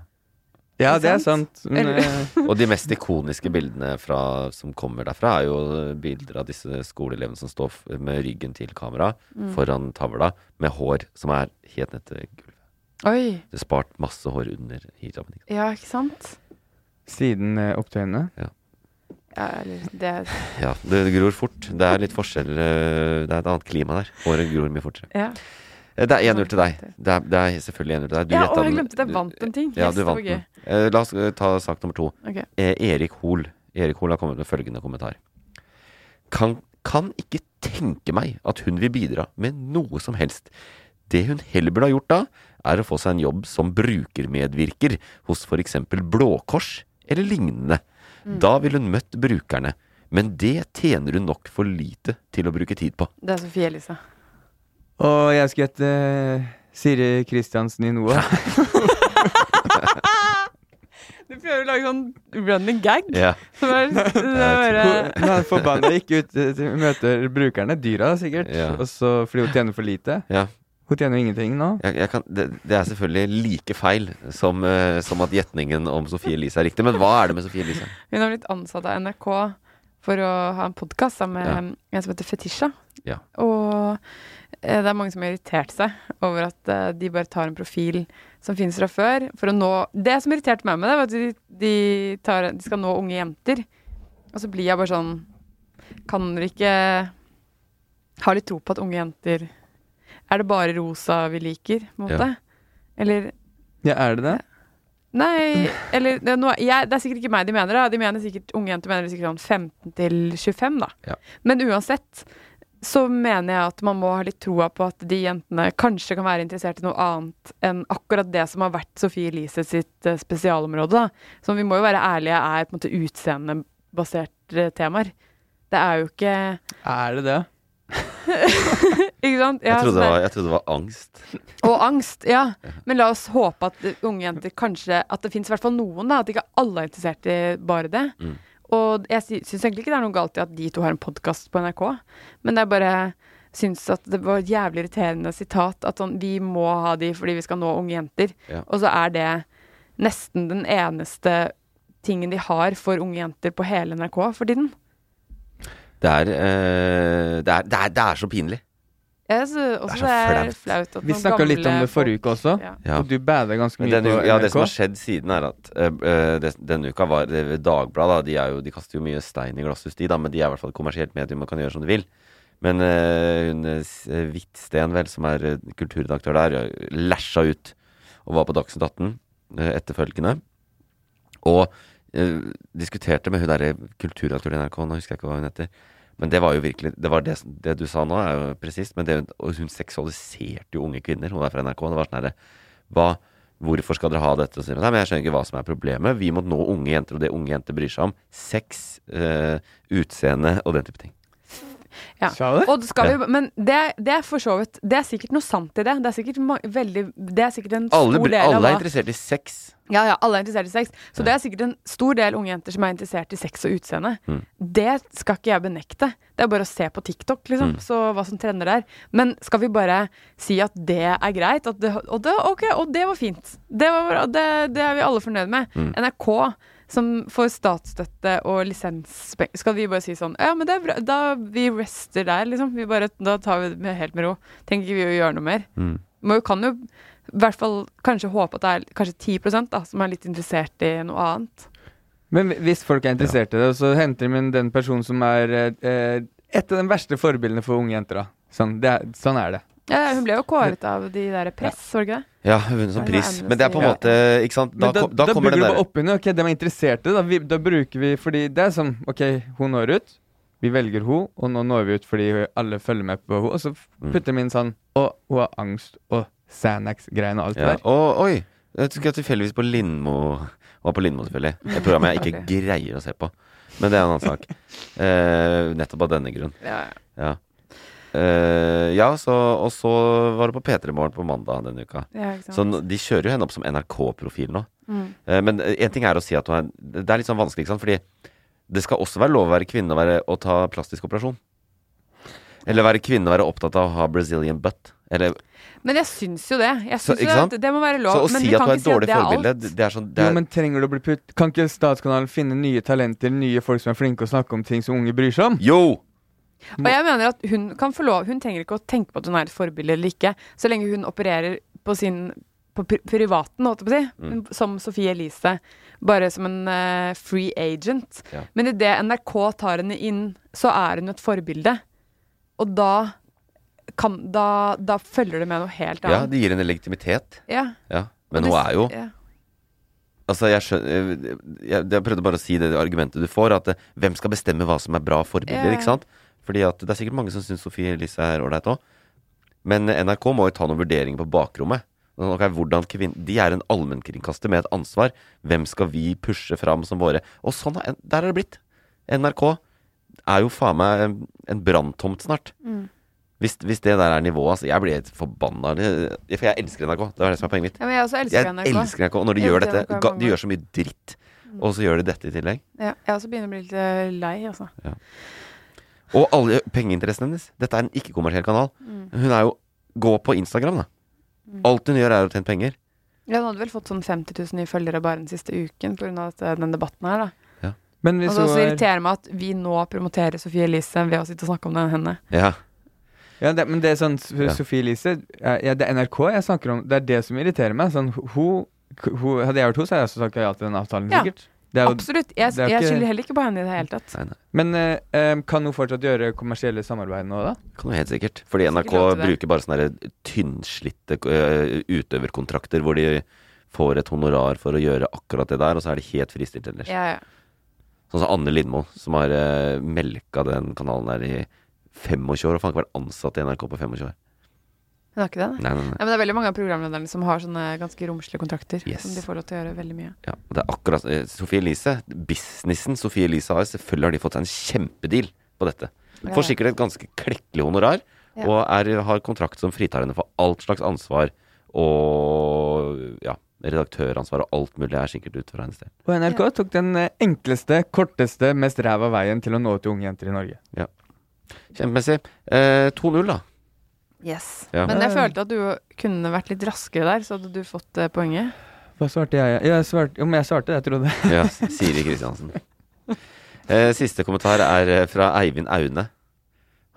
Ja,
Ikke
det er
sant?
sant. Men,
Eller-
eh,
Og de mest ikoniske bildene fra, som kommer derfra Er jo bilder av disse skoleelevene som står f- med ryggen til kamera Foran tavla Med hår som er helt ned til gulvet
Oi.
Det er spart masse hår under hijaben. Ikke sant?
Ja, ikke sant?
Siden eh, opptøyene.
Ja, eller det
Ja, det gror fort. Det er litt forskjell eh, Det er et annet klima der. Håret gror mye fortere.
Ja.
Eh, Det er 1-0 til deg. Det er, det er selvfølgelig 1-0 til deg. Du
ja,
gjettet
og jeg
den-
glemte at jeg vant en ting.
Ja,
Yes,
du
det var
vant
gøy.
den. Eh, La oss eh, ta sak nummer to.
Ok.
Eh, Erik Hoel. Erik Hoel har kommet med følgende kommentar. Kan, kan ikke tenke meg at hun vil bidra med noe som helst. Det hun heller burde ha gjort da, er å få seg en jobb som brukermedvirker hos for eksempel Blå Kors eller lignende. Da ville hun møtt brukerne. Men det tjener hun nok for lite til å bruke tid på.
Det er Sofie Elise.
Og jeg skulle gjette eh, Siri Kristiansen i Noah.
Du prøver å lage sånn running gag.
Ja.
Som er, det er bare
Hun er forbanna gikk ut eh, til- møter brukerne, dyra sikkert,
Ja.
og så fordi hun tjener for lite.
Ja.
Hun tjener jo ingenting nå.
Jeg, jeg kan, det, det er selvfølgelig like feil som, eh, som at gjetningen om Sofie Elise er riktig. Men hva er det med Sofie Elise?
Hun har blitt ansatt av NRK for å ha en podkast sammen med en som heter Fetisha.
Ja.
Og eh, det er mange som har irritert seg over at eh, de bare tar en profil som finnes fra før. For å nå Det som irriterte meg med det, var at de, de, tar, de skal nå unge jenter. Og så blir jeg bare sånn Kan dere ikke ha litt tro på at unge jenter Er det bare rosa vi liker, på en måte? Eller
Ja, er det det?
Nei, eller det, er noe- jeg, det er sikkert ikke meg de mener. da De mener sikkert, Unge jenter mener sikkert sånn 15 til 25, da.
Ja.
Men uansett så mener jeg at man må ha litt troa på at de jentene kanskje kan være interessert i noe annet enn akkurat det som har vært Sofie Elise sitt eh, spesialområde. da Så vi må jo være ærlige, er på en måte utseendebaserte temaer. Det er jo ikke
Er det det?
Ikke sant? Ja,
Jeg
så
trodde,
det-
det var, jeg trodde det var angst.
Og angst, ja. Men la oss håpe at eh, unge jenter kanskje At det fins i hvert fall noen, da. At ikke alle er interessert i bare det.
Mm.
Og jeg syns egentlig ikke det er noe galt i at de to har en podkast på NRK, men det er bare syns at det var et jævlig irriterende sitat at sånn Vi må ha de fordi vi skal nå unge jenter.
Ja.
Og så er det nesten den eneste tingen de har for unge jenter på hele NRK for tiden.
Det er, eh, det, er, det, er, det er så pinlig.
Jeg synes også
Det
det
er så
er,
flaut.
flaut. at
Vi
noen
snakka litt om
gamle
det forrige
folk-
uke også,
Ja.
Ja.
og du bada ganske
Men
mye
denne
på
uka- ja, det som har
NRK.
skjedd siden, er at eh, eh, det- denne uka var det- Dagbladet. da, De, er jo, de kaster jo mye stein i glasshus, de, da, men de er i hvert fall et kommersielt medium og kan gjøre som de vil. Men eh, hun eh, S- eh, Hvitsten, vel, som er eh, kulturredaktør der, eh, læsja ut og var på Dagsnytt 18 eh, etterfølgende. Og eh, diskuterte med hun derre kulturredaktøren i NRK, nå husker jeg ikke hva hun heter. Men det var jo virkelig Det var det, som- det du sa nå, er jo presist. Men det, hun- og hun seksualiserte jo unge kvinner. Hun er fra NRK. Det var sånn herre hva, Hvorfor skal dere ha dette? Og så sier hun, Nei, men jeg skjønner ikke hva som er problemet. Vi må nå unge jenter, og det unge jenter bryr seg om. Sex, eh, utseende og den type ting.
Ja.
Sa du det?
Og det skal
Ja.
vi, men det, det er for så vidt Det er sikkert noe sant i det. Det er sikkert, ma- veldig, det er sikkert en
Alle,
stor
bry-
del
alle er
av hva-
interessert i sex.
ja, ja, alle er interessert i sex. Så det er sikkert en stor del unge jenter som er interessert i sex og utseende. Det skal ikke jeg benekte. Det er bare å se på TikTok, liksom, så hva som trender der. Men skal vi bare si at det er greit? At det, og, det, ok, og det var fint. Det, var, bra. det, det er vi alle fornøyd med. NRK som får statsstøtte og lisens Skal vi bare si sånn Ja, men det er bra. Da vi rester der, liksom. Vi bare, da tar vi det med, helt med ro. Tenker ikke vi å gjøre noe mer. Man kan jo i hvert fall kanskje håpe at det er kanskje 10 da, som er litt interessert i noe annet.
Men hvi- hvis folk er interessert i det, så henter de inn den personen som er eh, eh, et av de verste forbildene for unge jenter. da. Sånn, det er, sånn er det.
Ja, hun ble jo kåret av de der press, var det ikke det?
Ja, hun vunnet som
Ja, det er
pris. Men det er på en
Amnesty.
måte Ikke sant? Da,
Men
kom- da kommer
bygger
den
du bare
der
opp under Ok, de er interesserte, da, vi, da bruker vi Fordi det er sånn Ok, hun når ut Vi velger hun Og nå når vi ut fordi alle følger med på hun Og så f-
Mm.
putter vi inn sånn Og hun har angst Og Xanax-greiene og alt
ja.
det der
Og oi! Jeg skulle tilfeldigvis på Lindmo. Var på Lindmo, selvfølgelig. Et program jeg ikke greier å se på. Men det er en annen sak. Eh, nettopp av denne grunn.
Ja,
Ja. Eh, ja, så, og så var det på P3 Morgen på mandag denne uka.
ikke sant. Mm.
Så nå- de kjører jo henne opp som NRK-profil nå. Eh, men én ting er å si at hun er Det er litt sånn vanskelig, ikke sant? Fordi det skal også være lov å være kvinne og, være, og ta plastisk operasjon. Eller være kvinne og være opptatt av å ha Brazilian butt. Eller,
Men jeg syns jo det. Jeg
Så,
syns
ikke
jo
sant?
at det må være lov.
så å
men
si
vi
at
kan
hun er
ikke
et
si at
dårlig
det er
forbilde,
alt.
det, det er sånn det
Jo,
er,
men trenger du å bli putt Kan ikke statskanalen finne nye talenter Nye folk som er flinke å snakke om ting som unge bryr seg om?
Jo!
Og jeg mener at hun kan få lov Hun trenger ikke å tenke på at hun er et forbilde eller ikke, så lenge hun opererer på sin på pri privaten, holdt jeg på å si,
Mm.
men som Sofie Elise. Bare som en eh, free agent.
Ja.
Men idet NRK tar henne inn, så er hun jo et forbilde. Og da, kan, da, da følger det med noe helt
Ja,
annet.
det gir henne legitimitet.
Ja,
Ja. Men hun
Og det-
er jo
ja.
Altså, jeg skjønner jeg, jeg prøvde bare å si det argumentet du får, at eh, hvem skal bestemme hva som er bra
Ja,
forbilder,
ja.
ikke sant? Fordi at det er sikkert mange som syns Sofie Elise er ålreit òg. Men eh, NRK må jo ta noen vurderinger på bakrommet. Sånn, ok, hvordan kvin- De er en allmennkringkaster med et ansvar. Hvem skal vi pushe fram som våre? Og sånn er, der er det blitt. NRK er jo faen meg en, en branntomt snart. Hvis, hvis det der er nivået, altså. Jeg blir helt forbanna. Det- For jeg elsker NRK. Det er det som er poenget mitt.
ja, men jeg også elsker
Jeg
NRK.
elsker NRK. Og når de
Jeg
gjør
elsker
dette,
NRK Mm. i
ga-
mange
de
år.
gjør så mye dritt, og så gjør de dette i tillegg.
Ja, jeg også begynner å bli litt lei, altså.
Og alle pengeinteressene hennes. Dette er en ikke-kommersiell kanal.
Mm.
Hun er jo Gå på Instagram, da. Alt hun gjør, er å tjene penger.
Ja, hun hadde vel fått sånn 50 000 nye følgere bare den siste uken pga. den debatten her, da.
Men
Og
hvis
så
hun
også
er
irriterer det meg at vi nå promoterer Sofie Elise ved å sitte og snakke om den henne.
Ja.
ja, det, Men det er sånn S-
Ja.
Sophie Elise eh, ja, ja, Det er NRK jeg snakker om. Det er det som irriterer meg. Sånn, hun, hun, hadde jeg vært hun, så hadde jeg også sagt ja til den avtalen,
Ja.
sikkert. Det er jo,
Absolutt. Jeg,
det er
jeg
ikke-
skylder heller ikke på henne i det hele tatt.
Nei, nei.
men eh, eh, kan hun fortsatt gjøre kommersielle samarbeid nå, da?
Kan du helt sikkert. Fordi
Sikkert
NRK
lov til det.
bruker bare sånne der tynnslitte øh, utøverkontrakter hvor de får et honorar for å gjøre akkurat det der, og så er de helt fristilt ellers.
Ja, ja.
Sånn som Anne Lindmo, som har øh, melka den kanalen der i 25 år, og faen ikke vært ansatt i NRK på 25 år.
Hun har ikke det, nei.
Nei, nei, nei.
Nei, men det er veldig mange av programlederne som har sånne ganske romslige kontrakter.
Yes.
Som de får lov til å gjøre veldig mye.
Ja, og det er akkurat eh, Sofie Elise, businessen Sofie Elise har, selvfølgelig har de fått seg en kjempedeal på dette.
Ja.
Får sikkert et ganske klekkelig honorar,
Ja.
og er, har kontrakt som fritar henne for alt slags ansvar og ja, redaktøransvar og alt mulig er sikkert ut fra hennes del.
Og NRK tok den eh, enkleste, korteste, mest ræva veien til å nå til unge jenter i Norge.
Kjempemessig. Eh, 2-0, da.
Yes. Um,
Ja.
Men jeg
Ja.
følte at du kunne vært litt raskere der, så hadde du fått eh, poenget.
Hva svarte jeg? Ja, jeg svarte, jo, men jeg svarte det, jeg trodde.
Ja, Siri Kristiansen. Eh, siste kommentar er eh, fra Eivind Aune.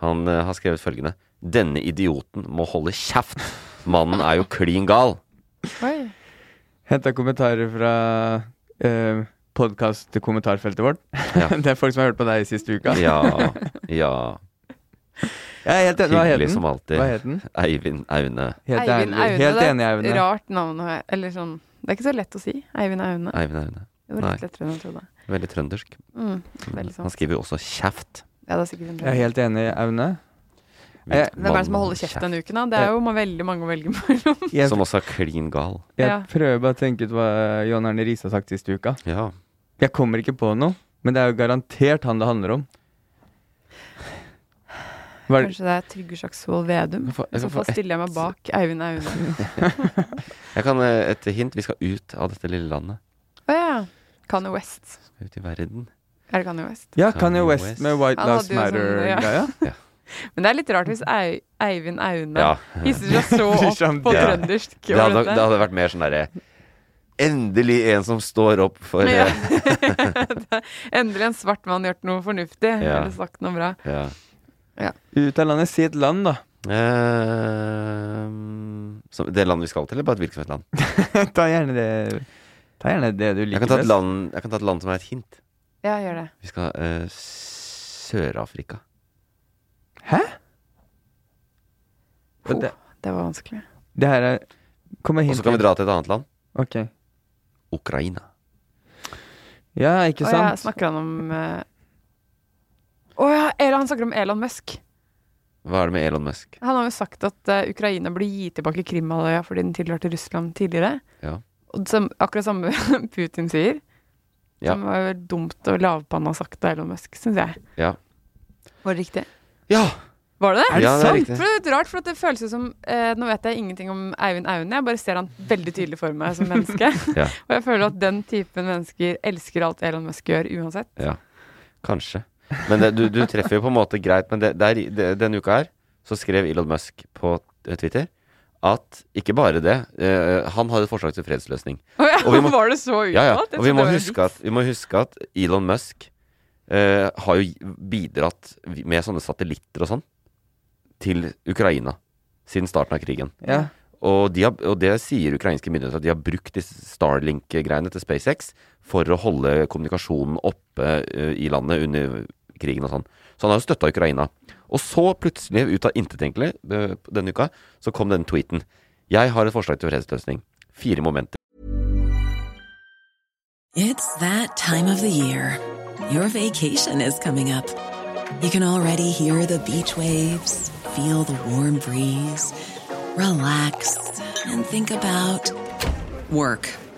Han eh, har skrevet følgende. Denne idioten må holde kjeft! Mannen er jo klin gal!
Oi.
Henta kommentarer fra eh, podkast-kommentarfeltet vårt.
Ja.
det er folk som har hørt på deg siste uka.
Ja. ja.
Jeg er helt enig. Hva het
Hyggelig
den?
som alltid.
Hva het den?
Eivind Aune.
Helt ærlig.
Eivind
Helt
Aune. det er
enig,
et
Aune.
Rart navn. å he- Eller sånn. Det er ikke så lett å si. Eivind Aune.
Eivind Aune.
Det var
nei.
litt lettere enn jeg trodde.
Veldig trøndersk.
Mm, veldig
Han
sant.
skriver jo også 'kjeft'.
Ja, det er sikkert en
Jeg er helt enig, Aune. Eh,
Hvem er det som må holde kjeft denne uken, da? Det er jo ma- veldig mange å velge mellom.
Jeg,
Som også er klin gal.
jeg
Ja.
prøver bare å tenke ut hva John Arne Riise har sagt siste uka.
Ja.
Jeg kommer ikke på noe, men det er jo garantert han det handler om. Hva er det?
Kanskje det er Trygve Slagsvold Vedum?
Jeg får-
I
jeg
så
får
fall stiller jeg meg bak Eivind Aune.
Jeg kan eh, et hint. Vi skal ut av dette lille landet.
Å ja. Kanye West.
Ut i verden.
Er det Kanye West?
Ja,
Kanye
Kanye West
West.
med White
Han
Lives
hadde jo sånn, ja.
Matter-greia.
Men det er litt rart hvis Ei Eivind Aune
Ja.
hisser seg så
Bryr
opp
seg om
på
det.
trøndersk.
Det
over
hadde,
dette.
det hadde vært mer sånn derre Endelig en som står opp for eh,
Ja. Endelig en svart mann gjort noe fornuftig.
Ja.
Eller sagt noe bra.
ja.
Ut av landet, si et land, da.
Ehm, som, det landet vi skal til, eller bare et hvilket som helst land?
ta gjerne det Ta gjerne det du
Jeg kan
liker
ta et
best.
land, jeg kan ta et land som er et hint.
Ja, gjør det.
Vi skal eh, Sør-Afrika.
Og Det,
Det var vanskelig.
det her er Kommer
Og
hint.
så kan vi dra til et annet land.
Ok.
Ukraina.
Ja, ikke
Å ja,
sant?
snakker han om eh, Å ja, eller han snakker om Elon Musk.
Hva er det med Elon Musk?
Han har jo sagt at eh, Ukraina burde gi tilbake Krimhalvøya fordi den tilhørte Russland tidligere.
Ja.
Og som, akkurat samme Putin sier.
Ja.
Som var jo dumt og lavpanna sagt av Elon Musk, syns jeg.
Ja.
Var det riktig?
Ja!
Var det det?
Er det Ja, det er sant? riktig.
For det er litt rart, for at det føles jo som eh, Nå vet jeg ingenting om Eivind Aune, jeg bare ser han veldig tydelig for meg som menneske.
Ja.
og jeg føler at den typen mennesker elsker alt Elon Musk gjør, uansett.
Kanskje. Men det, du, du treffer jo på en måte greit. Men det, det er, det, denne uka her så skrev Elon Musk på eh, Twitter at ikke bare det, eh, han har et forslag til fredsløsning.
Og, ja,
Og vi må-
var det så
Ja, ja.
uttalt? Jeg
Og vi
trodde
må,
det var en
huske at, vi må huske at Elon Musk eh, har jo bidratt med sånne satellitter og sånn til Ukraina siden starten av krigen.
Ja.
Og, de har, og det sier ukrainske myndigheter at de har brukt disse Starlink-greiene til SpaceX for å holde kommunikasjonen oppe eh, i landet under krigen og sånn. Så han har jo støtta Ukraina. Og så plutselig, ut av intet egentlig, eh, denne uka, så kom denne tweeten. Jeg har et forslag til fredsløsning. Fire momenter.
It's that time of the year. Your vacation is coming up. You can already hear the beach waves, feel the warm breeze, relax, and think about work.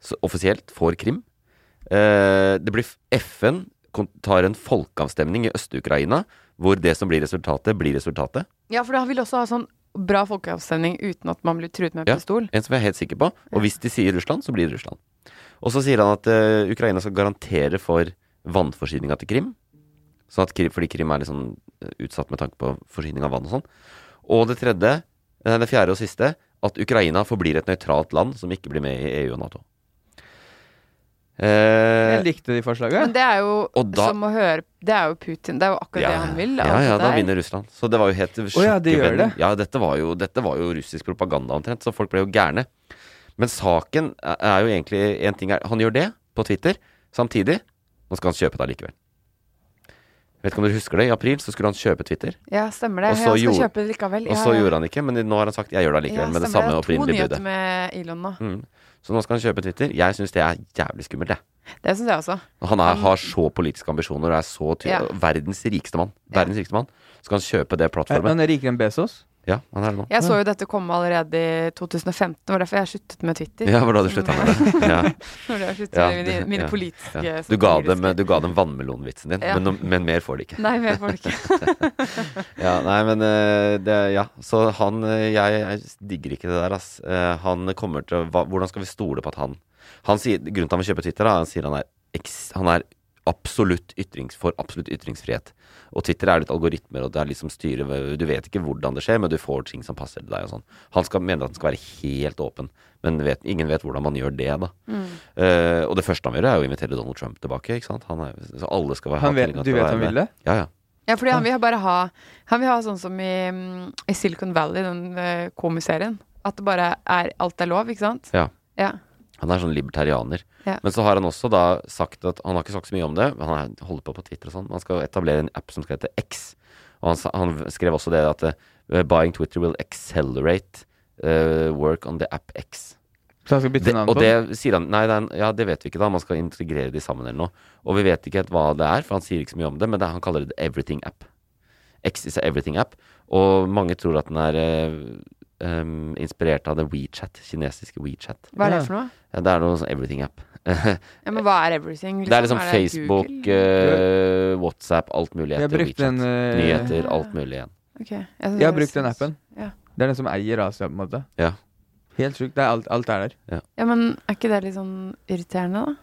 Så offisielt får Krim. Eh, det blir f- FN kon- tar en folkeavstemning i Øst-Ukraina, hvor det som blir resultatet, blir resultatet.
Ja, for da vil også ha sånn bra folkeavstemning uten at man blir truet med
Ja.
pistol.
En som jeg er helt sikker på. Og hvis de sier Russland, så blir det Russland. Og så sier han at eh, Ukraina skal garantere for vannforsyninga til Krim. Sånn at, Krim- fordi Krim er litt sånn eh, utsatt med tanke på forsyning av vann og sånn. Og det tredje, eh, det fjerde og siste, at Ukraina forblir et nøytralt land som ikke blir med i EU og Nato. Eh,
Jeg likte de forslagene.
Men det er jo
Og da-
som å høre Det er jo Putin. Det er jo akkurat det han vil.
Ja,
alt
ja,
det
da
Altså, der.
vinner Russland. Så det var jo helt
ja, de gjør
sjokkvennen.
det.
Ja, dette var, jo, dette var jo russisk propaganda omtrent, så folk ble jo gærne. Men saken er- er jo egentlig en ting er, Han gjør det på Twitter. Samtidig Nå skal han kjøpe det allikevel. Vet ikke om dere husker det? I april så skulle han kjøpe Twitter.
Ja, stemmer det.
Og
Jeg
så
skal
gjorde-
kjøpe det likevel.
Og
Ja,
så
ja.
gjorde han ikke, men nå har han sagt 'jeg gjør det allikevel'. med det
stemmer.
samme opprinnelige
To nyheter
budet.
med Elon nå.
Mm. Så nå skal han kjøpe Twitter. Jeg syns det er jævlig skummelt, jeg.
Det syns jeg også.
Og Han er, har så politiske ambisjoner og er så ty
Ja.
verdens rikeste mann. Verdens rikeste mann. Så skal han kjøpe det
Eh,
Er
plattformen.
han rikere enn Bezos?
Ja, han er det nå.
Jeg så jo dette komme allerede i 2015, det var derfor jeg sluttet med Twitter.
Ja, for da hadde du slutta med det. Ja.
Når jeg sluttet
Ja,
med
du-
mine, mine
ja,
politiske
ja. Du ga dem, eh,
satiriske-
du ga dem vannmelonvitsen din,
Ja.
men, no- men mer får de ikke.
Nei, mer folk.
Ja, nei, men eh, det, ja. Så han eh, jeg, jeg digger ikke det der, ass. Eh, Han kommer til å hva, Hvordan skal vi stole på at han Han sier Grunnen til at han vil kjøpe Twitter, er at han sier han er, eks, han er absolutt ytrings, for absolutt ytringsfrihet. Og Twitter er litt algoritmer, og det er liksom styre Du vet ikke hvordan det skjer, men du får ting som passer til deg og sånn. Han skal, mener at den skal være helt åpen, men vet, ingen vet hvordan man gjør det, da. Eh, og det første han vil gjøre, er å invitere Donald Trump tilbake, ikke sant. Han er, så alle skal være
Han vet-
tilgang
du
til å
vet
være
han
med.
vil det?
Ja, ja.
Ja, fordi han vil bare ha Han vil ha sånn som i, mm, i Silicon Valley, den eh, komiserien. At det bare er alt er lov, ikke sant?
Ja.
Ja.
Han er sånn libertarianer.
Ja.
Men så har han også da sagt at Han har ikke sagt så mye om det, men han er- holder på på Twitter og sånn. Han skal etablere en app som skal hete X. Og han, sa- han skrev også det at eh, Buying Twitter will accelerate eh, work on the app X.
Så han skal bytte
Det,
navn
og
på den?
det sier han Nei, det, er en- ja, det vet vi ikke, da. Man skal integrere de sammen eller noe. Og vi vet ikke helt hva det er, for han sier ikke så mye om det, men det, er- han kaller det the Everything App. X is a everything app. Og mange tror at den er eh, em, inspirert av det WeChat, kinesiske WeChat.
Hva er
Ja.
det for noe?
Ja, Det er noe sånn everything app.
Ja, men hva er everything?
Det er liksom
Google?
Facebook, eh, WhatsApp, alt mulig.
Jeg
etter
brukte
WeChat.
den, eh,
Nyheter, alt mulig igjen.
Ok, jeg synes
Jeg har
det
brukt den
syns-
appen.
Ja.
Det er den som eier Asia, på en måte.
Ja.
Helt sjukt. Det er Alt, alt er der.
Ja, men er ikke det litt sånn irriterende, da?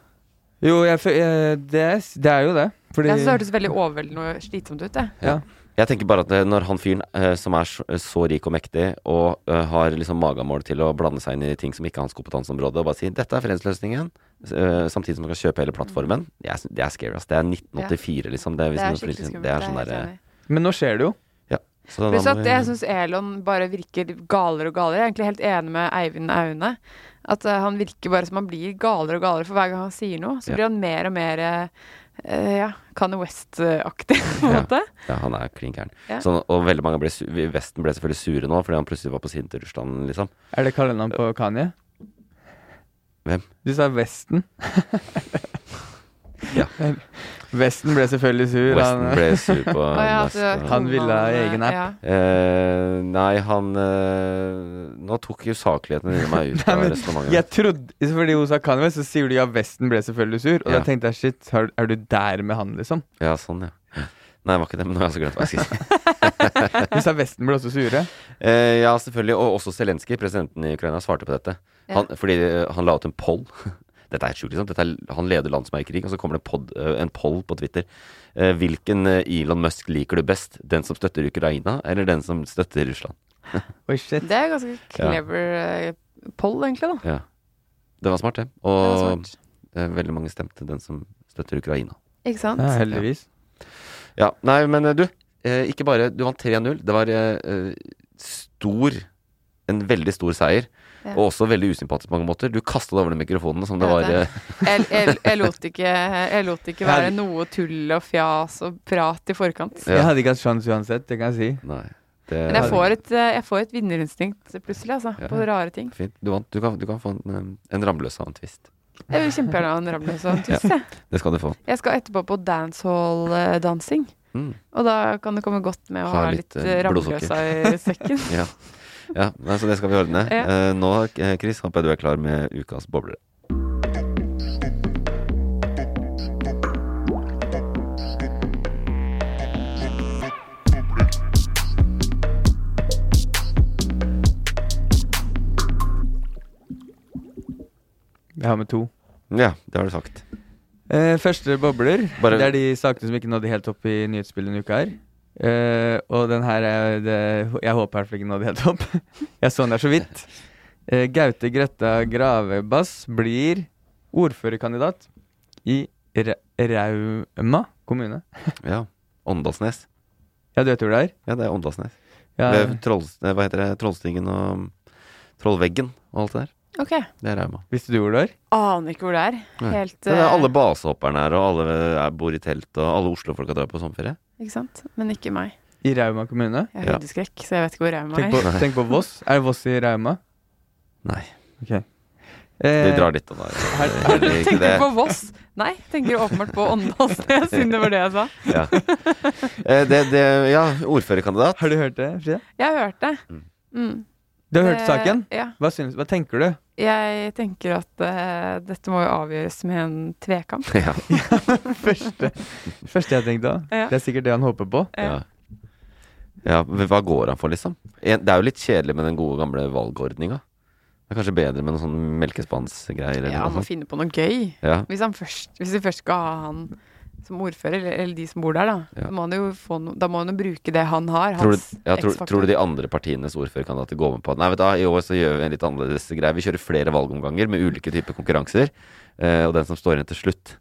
Jo, jeg, fø- eh, det, er s- det er jo det. Fordi
Jeg synes det hørtes veldig overveldende og slitsomt ut, det.
Ja. Jeg tenker bare at eh, når han fyren eh, som er så, så rik og mektig, og eh, har liksom magamål til å blande seg inn i ting som ikke er hans kompetanseområde, og bare si 'dette er fredsløsningen', s- eh, samtidig som han kan kjøpe hele plattformen, det er, det er scary, ass. Det er 1984, liksom. Det er, hvis
Mm. Det
noen-
er skikkelig skummelt,
Det
det
er
er
sånn
jeg
derre
helt
Men nå skjer det jo.
Ja. Så da
Pluss
må vi-
at jeg syns Elon bare virker galere og galere. Jeg er egentlig helt enig med Eivind Aune. At eh, han virker bare som han blir galere og galere for hver gang han sier noe. Så
Ja.
blir han mer og mer uh, ja, Kanye West-aktig, på en måte.
Ja, han er klin gæren.
Ja.
Sånn, og veldig mange ble, su- Vesten ble selvfølgelig sure nå fordi han plutselig var på sin til Russland, liksom.
Er det kallenavn på Kanye?
Hvem?
Du sa Vesten.
Ja.
Vesten ble selvfølgelig sur.
Westen
han-
ble sur på
Han, ville ha egen app.
Eh, nei, han eh, Nå tok jo sakligheten dine meg ut
Nei,
av
men
resonnementet.
jeg trodde, Fordi hun sa Kanye, West, så sier du ja, Vesten ble selvfølgelig sur. Og
Ja.
da tenkte jeg shit, er, er du der med han, liksom?
Ja, sånn, ja. Nei, det var ikke det, men nå har jeg også glemt hva jeg skulle si.
Du sa Vesten ble også sure.
Eh, ja, selvfølgelig. Og også Zelenskyj, presidenten i Ukraina, svarte på dette.
Ja.
Han, fordi eh, han la ut en poll. Dette er helt sjukt, liksom. Dette er, han leder land som er i krig, og så kommer det en pod, eh, en poll på Twitter. Eh, hvilken eh, Elon Musk liker du best? Den som støtter Ukraina, eller den som støtter Russland?
Oi, shit.
Det er ganske clever eh, poll, egentlig, da.
Ja. Det var smart, det. Og eh, veldig mange stemte den som støtter Ukraina.
Ikke sant?
Ja, heldigvis.
Ja, nei, men eh, du, eh, ikke bare Du vant 3-0. Det var eh, eh, stor En veldig stor seier.
Ja.
Og også veldig usympatisk på mange måter. Du kasta det over den mikrofonen som det
Ja,
var
det.
eh,
Jeg, jeg, jeg, lot ikke, jeg lot ikke være noe tull og fjas og prat i forkant.
Jeg hadde ikke hatt sjanse uansett, det kan jeg si.
Nei, det,
Men jeg får et, eh, jeg får et vinnerinstinkt plutselig, altså.
Ja.
På rare ting.
Fint. Du, vant. Du, kan, du kan få en, eh, en ramløs av en twist.
Jeg vil kjempegjerne ha en ramløs og en tuss,
Ja,
jeg.
det skal du få.
Jeg skal etterpå på dancehall-dansing.
Mm.
Og da kan det komme godt med å ha, litt,
eh,
litt ramløsa i sekken.
ja. ja, nei, så det skal vi ordne.
Ja.
Eh, nå, eh, Chris, håper jeg du er klar med ukas boblere.
Jeg har med to.
Ja, det har du sagt.
Eh, første bobler.
Bare-
Det er de sakene som ikke nådde helt opp i nyhetsbildet denne uka her. Eh, og den her er det, Jeg håper i hvert fall ikke nådde helt opp. jeg så den der så vidt. Eh, Gaute Grøtta Gravebass blir ordførerkandidat i Ra Rauma kommune.
Ja. Åndalsnes.
Ja, du vet hvor det er?
Ja, det er Åndalsnes.
Ja.
Ved Trolls, eh, hva heter det? Trollstigen og Trollveggen og alt det der.
Ok.
Det er Rauma.
Visste du hvor det er?
Aner ikke hvor det er.
Nei.
Helt
Det er
eh,
alle basehopperne her, og alle er, bor i telt, og alle Oslo-folka drar på sommerferie.
Ikke sant? Men ikke meg.
I Rauma kommune?
Jeg har høydeskrekk, så jeg vet ikke hvor Rauma
Tenk på,
er.
tenk på Voss. Er Voss i Rauma?
Nei.
Ok.
Vi
Eh,
drar dit, da. da.
her- her-
Ikke
Tenker
det.
du på Voss? Nei, tenker du åpenbart på Åndalsnes, siden det var det jeg sa.
Ja. Eh, det, det, ja, ordførerkandidat.
Eh, Har du hørt det, Frida?
Jeg har hørt det. Mm.
Du har hørt
Det-
saken?
ja.
Hva, synes, hva tenker du?
Jeg tenker at eh, dette må jo avgjøres med en tvekamp.
Ja.
første, første jeg tenkte da.
Ja.
Det er sikkert det han håper på.
Eh,
Ja. Ja, men Hva går han for, liksom? En, det er jo litt kjedelig med den gode, gamle valgordninga. Det er kanskje bedre med noen sånne melkespannsgreier. eller
Ja, han
noe
må
sånt.
finne på noe gøy.
Ja.
Hvis, han først, hvis vi først skal ha han som ordfører, eller, eller de som bor der, da,
Ja.
så må han jo få no, da må han jo bruke det han har.
Tror du,
Hans
ja, tror,
X-faktor.
tror du de andre partienes ordførerkandidater går med på at Nei, vet du, hva, i år så gjør vi en litt annerledes greie. Vi kjører flere valgomganger med ulike typer konkurranser. eh, og den som står igjen til slutt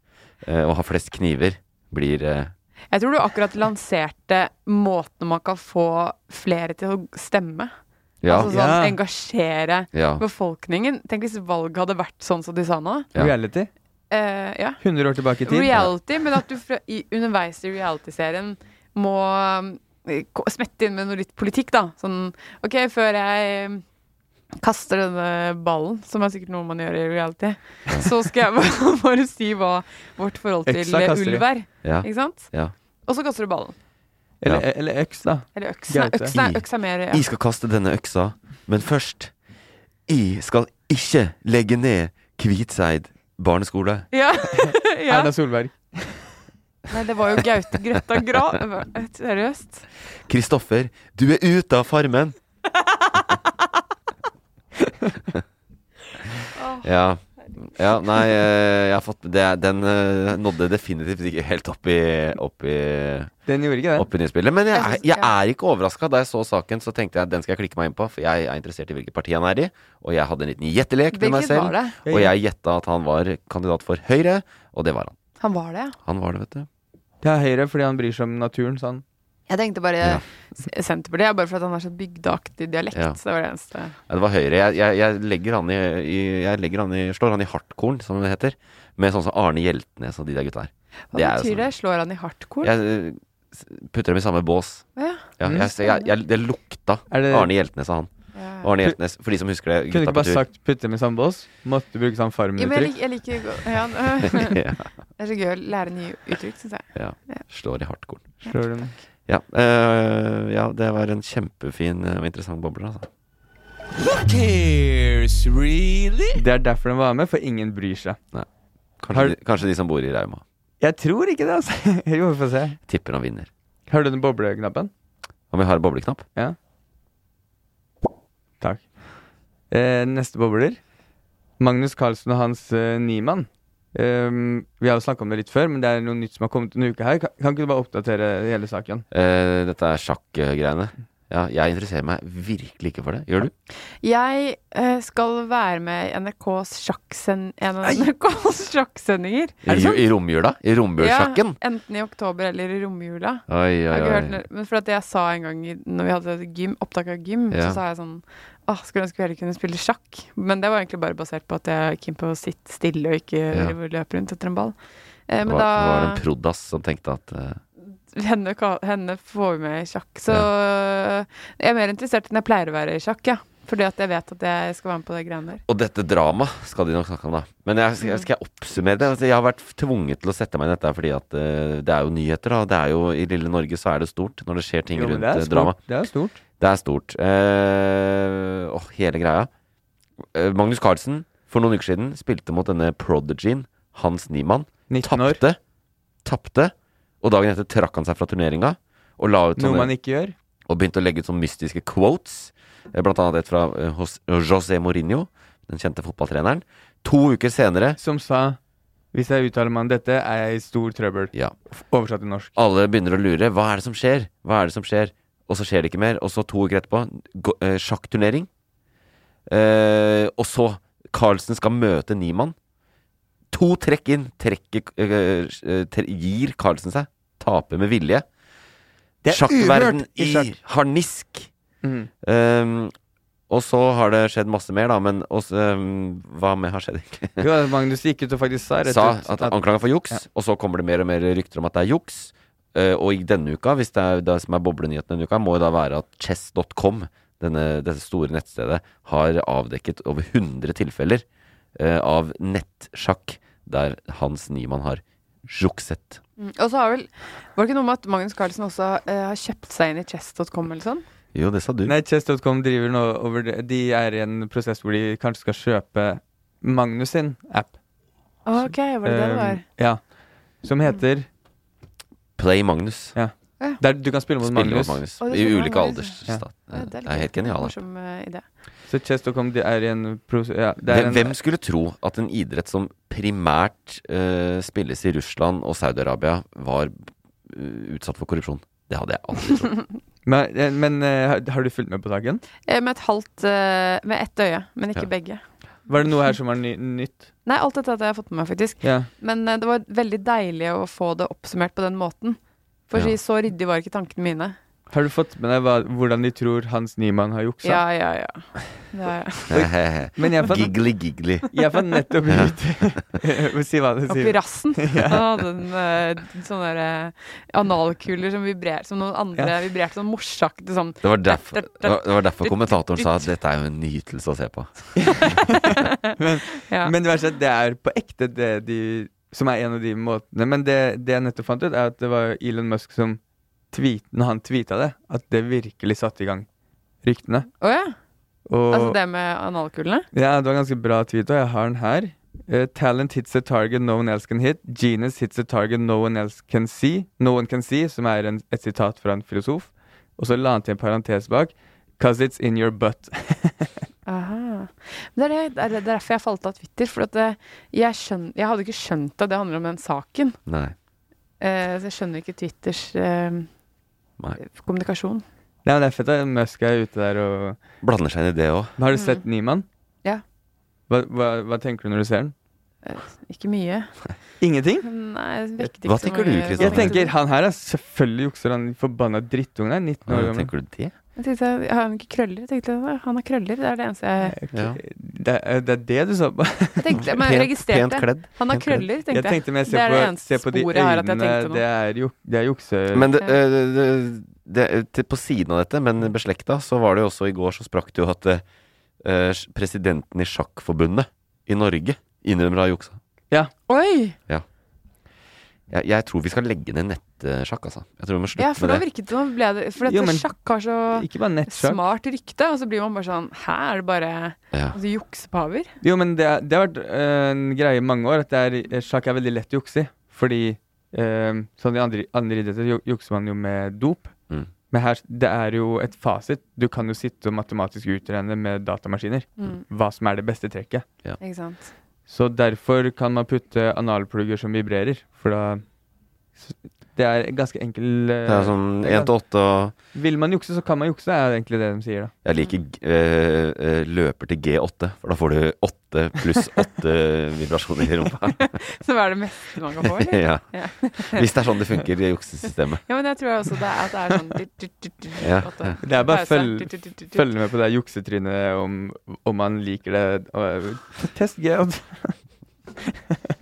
eh, og har flest kniver, blir eh,
Jeg tror du akkurat lanserte måten man kan få flere til å stemme.
Ja.
Altså sånn
Ja.
engasjere
Ja.
befolkningen. Tenk hvis valget hadde vært sånn som de sa nå.
Ja.
Reality.
Eh, ja.
100 år tilbake i tid.
Reality, men at du fra, i, underveis i reality-serien må eh, ko- smette inn med noe litt politikk, da. Sånn OK, før jeg um, kaster denne ballen, som er sikkert noe man gjør i reality, så skal jeg bare, bare si hva vårt forhold til
Øksa kaster de.
ulv er.
Ja.
Ikke sant?
Ja.
Og så kaster du ballen.
Eller, eller øks, da.
Eller øks. Nei,
Gaute.
øks, nei, øks er mer
Jeg skal kaste denne øksa, men først Jeg skal ikke legge ned Kvitseid Barneskole.
Ja. ja.
Erna Solberg.
Nei, det var jo Gaute Grøtta Gra... Seriøst?
Kristoffer, du er ute av farmen! ja. ja. Nei, eh, jeg har fått det, Den eh, nådde definitivt ikke helt opp i, opp i
Den gjorde ikke det.
opp i nyspillet. Men jeg,
Jeg
er-
synes-
jeg
ja.
er ikke overraska. Da jeg så saken, så tenkte jeg den skal jeg klikke meg inn på, for jeg er interessert i hvilket parti han er i. Og jeg hadde en liten gjettelek med meg
Hvilket
selv,
var det?
og jeg gjetta at han var kandidat for Høyre, og det var han.
Han var det, ja.
Han var det, vet du.
Det er Høyre fordi han bryr seg om naturen, sa han.
Jeg tenkte bare S- Senterpartiet, er bare fordi han har så bygdeaktig dialekt.
Ja.
Så det var det eneste.
Ja, det var høyre. Jeg, jeg, jeg, legger han i, i, jeg legger han i Slår han i hardkorn, som det heter. Med sånn som Arne Hjeltnes og de der gutta her.
Hva betyr det? Slår han i hardkorn?
sånn- Jeg eh, s- putter dem i samme bås.
Ja.
jeg, jeg, jeg, det lukta
Er det-
Arne Hjeltnes av han.
Ja.
Arne Hjeltnes, for de som husker det.
Eh,
Gutta
Kunne ikke
på
bare
tur.
sagt 'putte med sambås'? Måtte bruke sånn
Ja, men jeg, lik,
farmen-uttrykk.
jeg liker godt ja, n-
Ja.
Det er så gøy å lære nye uttrykk, syns jeg.
Ja. Slår i hardkorn.
Slår den.
Ja, eh, ja, det var en kjempefin eh, og interessant boble, altså.
Det er derfor den var med, for ingen bryr seg.
Nei. Kanskje,
Har-
de, kanskje de som bor i Rauma.
Jeg tror ikke det, altså. Jo, vi får se.
Tipper han vinner.
Har du den bobleknappen?
Om vi har bobleknapp?
Ja. Takk. Eh, neste bobler. Magnus Carlsen og hans eh, Niemann. Ehm, vi har jo snakka om det litt før, men det er noe nytt som har kommet denne uka her. Kan, kan ikke du bare oppdatere hele saken?
Eh, dette er sjakk-greiene. Ja, jeg interesserer meg virkelig ikke for det. Gjør du?
Jeg eh, skal være med i NRKs sjakksend... En av NRKs sjakksendinger.
I, I romjula? I romjulsjakken?
Ja, enten i oktober eller i romjula.
Oi,
Jeg
oi,
har ikke hørt
oi.
noe- Men for at jeg sa en gang i- Når vi hadde gym, opptak av gym
Ja.
Så sa jeg sånn Åh, skulle ønske vi heller kunne spille sjakk Men det var egentlig bare basert på at jeg er keen på å sitte stille Og ikke
Ja.
løpe rundt etter en ball eh,
Det
Men
var, det var
da
en prodas som tenkte at eh,
henne, ka- henne får vi med i sjakk Så jeg er mer interessert enn jeg pleier å være i sjakk ja. Fordi at jeg vet at jeg skal være med på det greiene der
Og dette dramaet skal de nok snakke om, da. Men jeg, skal, skal jeg oppsummere det? Altså, jeg har vært tvunget til å sette meg inn i dette fordi at eh, det er jo nyheter, da. Det er jo, I lille Norge så er det stort når det skjer ting
Jo, men
rundt
det er
eh,
stort.
drama.
Det er stort.
Det er stort. Eh, åh, hele greia. Eh, Magnus Carlsen, for noen uker siden, spilte mot denne prodigyen, Hans Niemann. Tapte. Tapte. Og dagen etter trakk han seg fra turneringa. Og la ut
Noe
sånne-
man ikke gjør.
og begynte å legge ut sånne mystiske quotes. eh, Blant annet et fra eh, Jos- José Mourinho, den kjente fotballtreneren. To uker senere
Som sa 'Hvis jeg uttaler meg om dette, er jeg i stor trøbbel'.
Ja.
F- Oversatt til norsk.
Alle begynner å lure. Hva er det som skjer? Hva er det som skjer? Og så skjer det ikke mer. Og så to uker etterpå, gå- eh, sjakkturnering. Eh, og så Carlsen skal møte Niemann. To trekk inn. Trekket eh, eh, tre, Gir Carlsen seg. Taper med vilje.
Det er
Sjakkverden
uhørt i
i
sjakk.
harnisk.
Mm.
Um, og så har det skjedd masse mer, da. Men også, um, hva med har skjedd, egentlig?
Jo, altså, Magnus gikk ut og faktisk sa rett
Sa
ut
at anklaga for juks,
Ja.
og så kommer det mer og mer rykter om at det er juks. Eh, og i denne uka, hvis det er det som er boblenyheten denne uka, må jo da være at chess.com, denne, dette store nettstedet, har avdekket over 100 tilfeller eh, av nettsjakk der Hans Niemann har jukset.
Mm, Og så har vel Var det ikke noe med at Magnus Carlsen også eh, har kjøpt seg inn i chess.com eller sånn?
Jo, det sa du.
Nei, Chess.com driver nå over det. De er i en prosess hvor de kanskje skal kjøpe Magnus sin app.
Ok, var det det det
Eh,
var?
Ja. Som heter
Play Magnus.
Ja. Der du kan spille mot
Spiller
Magnus.
mot Magnus.
Å, det
I
skjønner jeg,
ulike
Magnus.
aldersstad.
Ja,
det
litt
er helt genialt.
Morsom eh, idé.
Så Chess.com de er i en pros... Ja, det er
Hvem,
en,
hvem skulle tro at en idrett som primært eh, spilles i Russland og Saudi-Arabia, var eh, utsatt for korrupsjon? Det hadde jeg aldri trodd.
Men, eh, men eh, har- har du fulgt med på saken?
Eh, Med et halvt eh, Med ett øye, men ikke
Ja.
begge.
Var det noe her som var ny, nytt?
Nei, alt dette hadde jeg fått med meg, faktisk.
Ja.
Men eh, det var veldig deilig å få det oppsummert på den måten. For å
Ja.
si, så ryddig var ikke tankene mine.
Har du fått med deg hva, hvordan de tror Hans Niemann har juksa?
Ja, ja, ja. Det har jeg.
Men jeg fant-
Giggly, giggly.
Jeg fant nettopp
Ja.
ut Si hva du sier.
Oppi rassen.
Ja.
Han hadde en eh, sånn derre analkuler som vibrerte som noen andre
Ja.
vibrerte sånn morsaktig sånn
Det var, derfor, det var- det var derfor kommentatoren sa at dette er jo en nytelse å se på.
men,
Ja.
men det verste er sånn at det er på ekte det de Som er en av de måtene Men det, det jeg nettopp fant ut er at det var Elon Musk som tweet, Når han tweeta det At det virkelig satte i gang ryktene
Å ja.
og,
Altså det med analkulene?
Ja, det var en ganske bra tweet Og jeg har den her Uh, talent hits a target no one else can hit. Genius hits a target no one else can see. No one can see, som er en, et sitat fra en filosof. Og så la han til en parentes bak. Cause it's in your butt.
Aha. Men det er, det, det er derfor jeg falt av Twitter. For at det, jeg, skjøn, jeg hadde ikke skjønt at det handler om den saken.
Nei.
Eh, så jeg skjønner ikke Twitters eh, kommunikasjon.
Nei, men det er fett at Musk er ute der og
Blander seg inn i det òg.
Har du sett Niemann?
Ja.
Hva, hva, hva tenker du når du ser den?
Eh, Ikke mye.
Ingenting?
Nei, det vekket ikke
Hva
så
tenker
mye-
du, Kristian?
Jeg tenker han her er selvfølgelig jukser, han forbanna drittungen er 19 år
Hva
gammel.
tenker du det?
Jeg tenkte, har han ikke krøller? Jeg tenkte, «Nei, han har krøller, det er det eneste jeg
Ja.
Eh, Det, er, det er det du sa på?
Jeg tenkte, men jeg
Pent-
registrerte.
pent kledd.
Han har
Pent kledd.
krøller,
Jeg
tenkte jeg.
tenkte mer se
Det er
på,
det eneste
se på de
sporet jeg har at jeg
øynene,
tenkte nå.
det er, juk, det er jukse...
Men det, eh, det, det, det- til- på siden av dette, men beslekta, så var det jo også i går så sprakk det jo at eh, eh, presidenten i sjakkforbundet i Norge innrømmer å ha juksa.
Ja.
Oi!
Ja. Jeg, jeg tror vi skal legge ned nettsjakk, altså. Jeg tror vi må slutte
Ja, for nå
med det.
virket det som ble det For
Jo,
dette
men-
sjakk har så
Ikke bare nettsjakk.
smart rykte, og så blir man bare sånn Hæ, er det bare
Ja.
altså, juksepaver?
Jo, men det, er- det har vært eh, en greie i mange år at det er, eh, sjakk er veldig lett å jukse i. Fordi eh, sånn i andre, andre idretter ju- jukser man jo med dop.
Mm.
Men her, det er jo et fasit. Du kan jo sitte og matematisk utregne med datamaskiner
Mm.
hva som er det beste trekket.
Ikke sant?
Så derfor kan man putte analplugger som vibrerer, for da s- Det er en ganske enkel eh,
Det er sånn
ja.
1 til 8 og
Vil man jukse, så kan man jukse, er egentlig det de sier, da.
Jeg liker eh, eh, løper til G8, for da får du 8 pluss 8 vibrasjoner i rumpa.
Så hva er det meste man kan få, eller?
ja.
Ja.
Hvis det er sånn det funker i juksesystemet.
Ja, men jeg tror også det er at det er sånn tut, tut, tut, tut,
Ja.
åtte.
Det er bare å
Pause.
følge,
Tut, tut, tut, tut.
følge med på det juksetrynet om, om man liker det. Og, øh, test G. altså. og-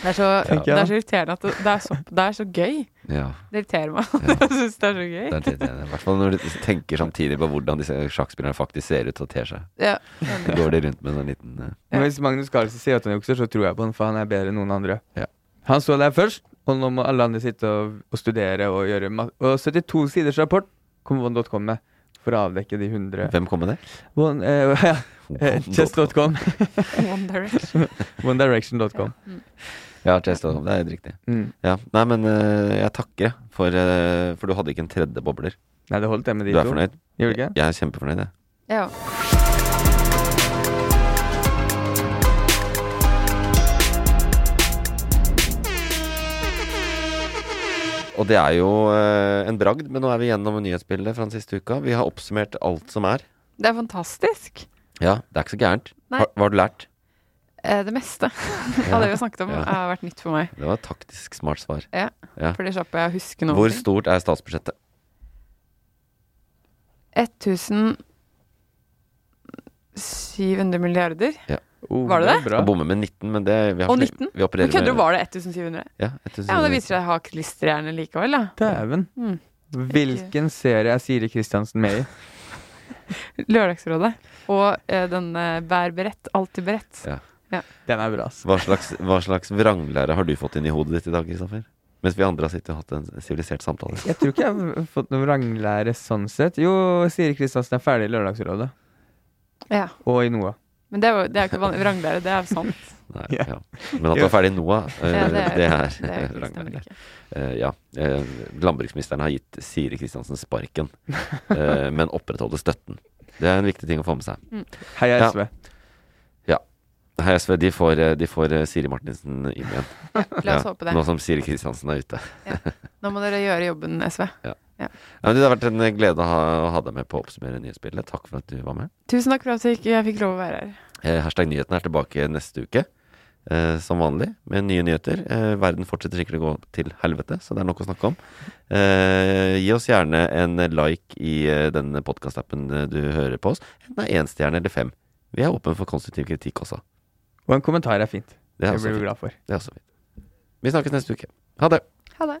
Det er så,
Tenker jeg,
det
da.
er så irriterende at det, det, er så, det er så gøy.
Ja.
Det irriterer meg.
Ja.
Jeg syns det er så gøy.
Det er det, det er det. I hvert fall når du tenker samtidig på hvordan disse sjakkspillerne faktisk ser ut og ter seg.
Ja.
Så går de rundt med en sånn liten eh,
Men hvis Magnus Carlsen sier at han jukser, så tror jeg på han, for han er bedre enn noen andre.
Ja.
Han så der først, og nå må alle andre sitte og, og studere og gjøre ma Og 72 siders rapport kom Von.com med for å avdekke de
eh,
100
Hvem kom med det?
One, eh, ja, eh, Chess.com.
One Direction.
OneDirection.com.
Ja, chess.com. Det er helt riktig.
Mm.
Ja. Nei, men eh, jeg takker, jeg, for, eh, for du hadde ikke en tredje bobler.
Nei, det holdt, det med de
Du er
to.
fornøyd?
Gjorde du ikke?
Jeg er kjempefornøyd, jeg.
Ja.
Og det er jo eh, en bragd, men nå er vi gjennom nyhetsbildet fra den siste uka. Vi har oppsummert alt som er.
Det er fantastisk.
Ja, det er ikke så gærent.
Nei.
Har, hva har du lært?
Eh, Det meste av det vi har snakket om,
Ja.
har vært nytt for meg.
Det var et taktisk smart svar.
Ja,
Ja.
For det slapp jeg å huske noe.
Hvor stort er statsbudsjettet?
1700 milliarder.
Ja.
Oh,
Var det det?
bra.
Jeg bommer med 19, men det vi har
Og
sli-
19?
Vi
Men
opererer
kødder du,
med
var det 1700?
ja,
Ja, men det viser seg å ha klisterhjerne likevel, da.
Dæven.
Mm.
Hvilken serie er Siri Kristiansen med i?
Lørdagsrådet. Og eh, den eh, Vær beredt, alltid beredt.
Ja.
Ja.
Den er bra, ass.
Hva slags, hva slags vranglære har du fått inn i hodet ditt i dag, Kristoffer? Mens vi andre har sittet og hatt en sivilisert samtale.
Jeg tror ikke jeg har fått noen vranglære sånn sett. Jo, Siri Kristiansen er ferdig i Lørdagsrådet.
Ja.
Og i NOA.
Men det er jo det er jo ikke van- vranglære, det er sant.
Nei,
Ja.
ja. Men at du er ferdig nå, eh,
Ja, det
det
er-
er,
det er jo- stemmer
vranglære.
ikke.
Eh, ja. eh, landbruksministeren har gitt Siri Kristiansen sparken, eh, men opprettholder støtten. Det er en viktig ting å få med seg.
Heia
Ja.
SV.
Ja. Her, SV, de får, eh, de får eh, Siri Martinsen inn igjen.
La oss håpe det.
Nå som Siri Kristiansen er ute.
Nå må dere gjøre jobben, SV.
Ja. Ja,
Ja.
men du, det har vært en eh, glede å ha, å ha deg med på å oppsummere nyhetsbildet. Takk for at du var med.
Tusen takk for at jeg ikke- jeg fikk lov å være her.
Eh, Hashtag nyhetene er tilbake neste uke, eh, som vanlig, med nye nyheter. Eh, verden fortsetter sikkert å gå til helvete, så det er nok å snakke om. Eh, gi oss gjerne en like i eh, den podkastappen du hører på oss. Enten det er én stjerne eller fem. Vi er åpne for konstruktiv kritikk også.
Og en kommentar er fint.
Det er
Det
også
blir vi
fint.
glad for.
Det er også fint. Vi snakkes neste uke. Ha det.
Ha det.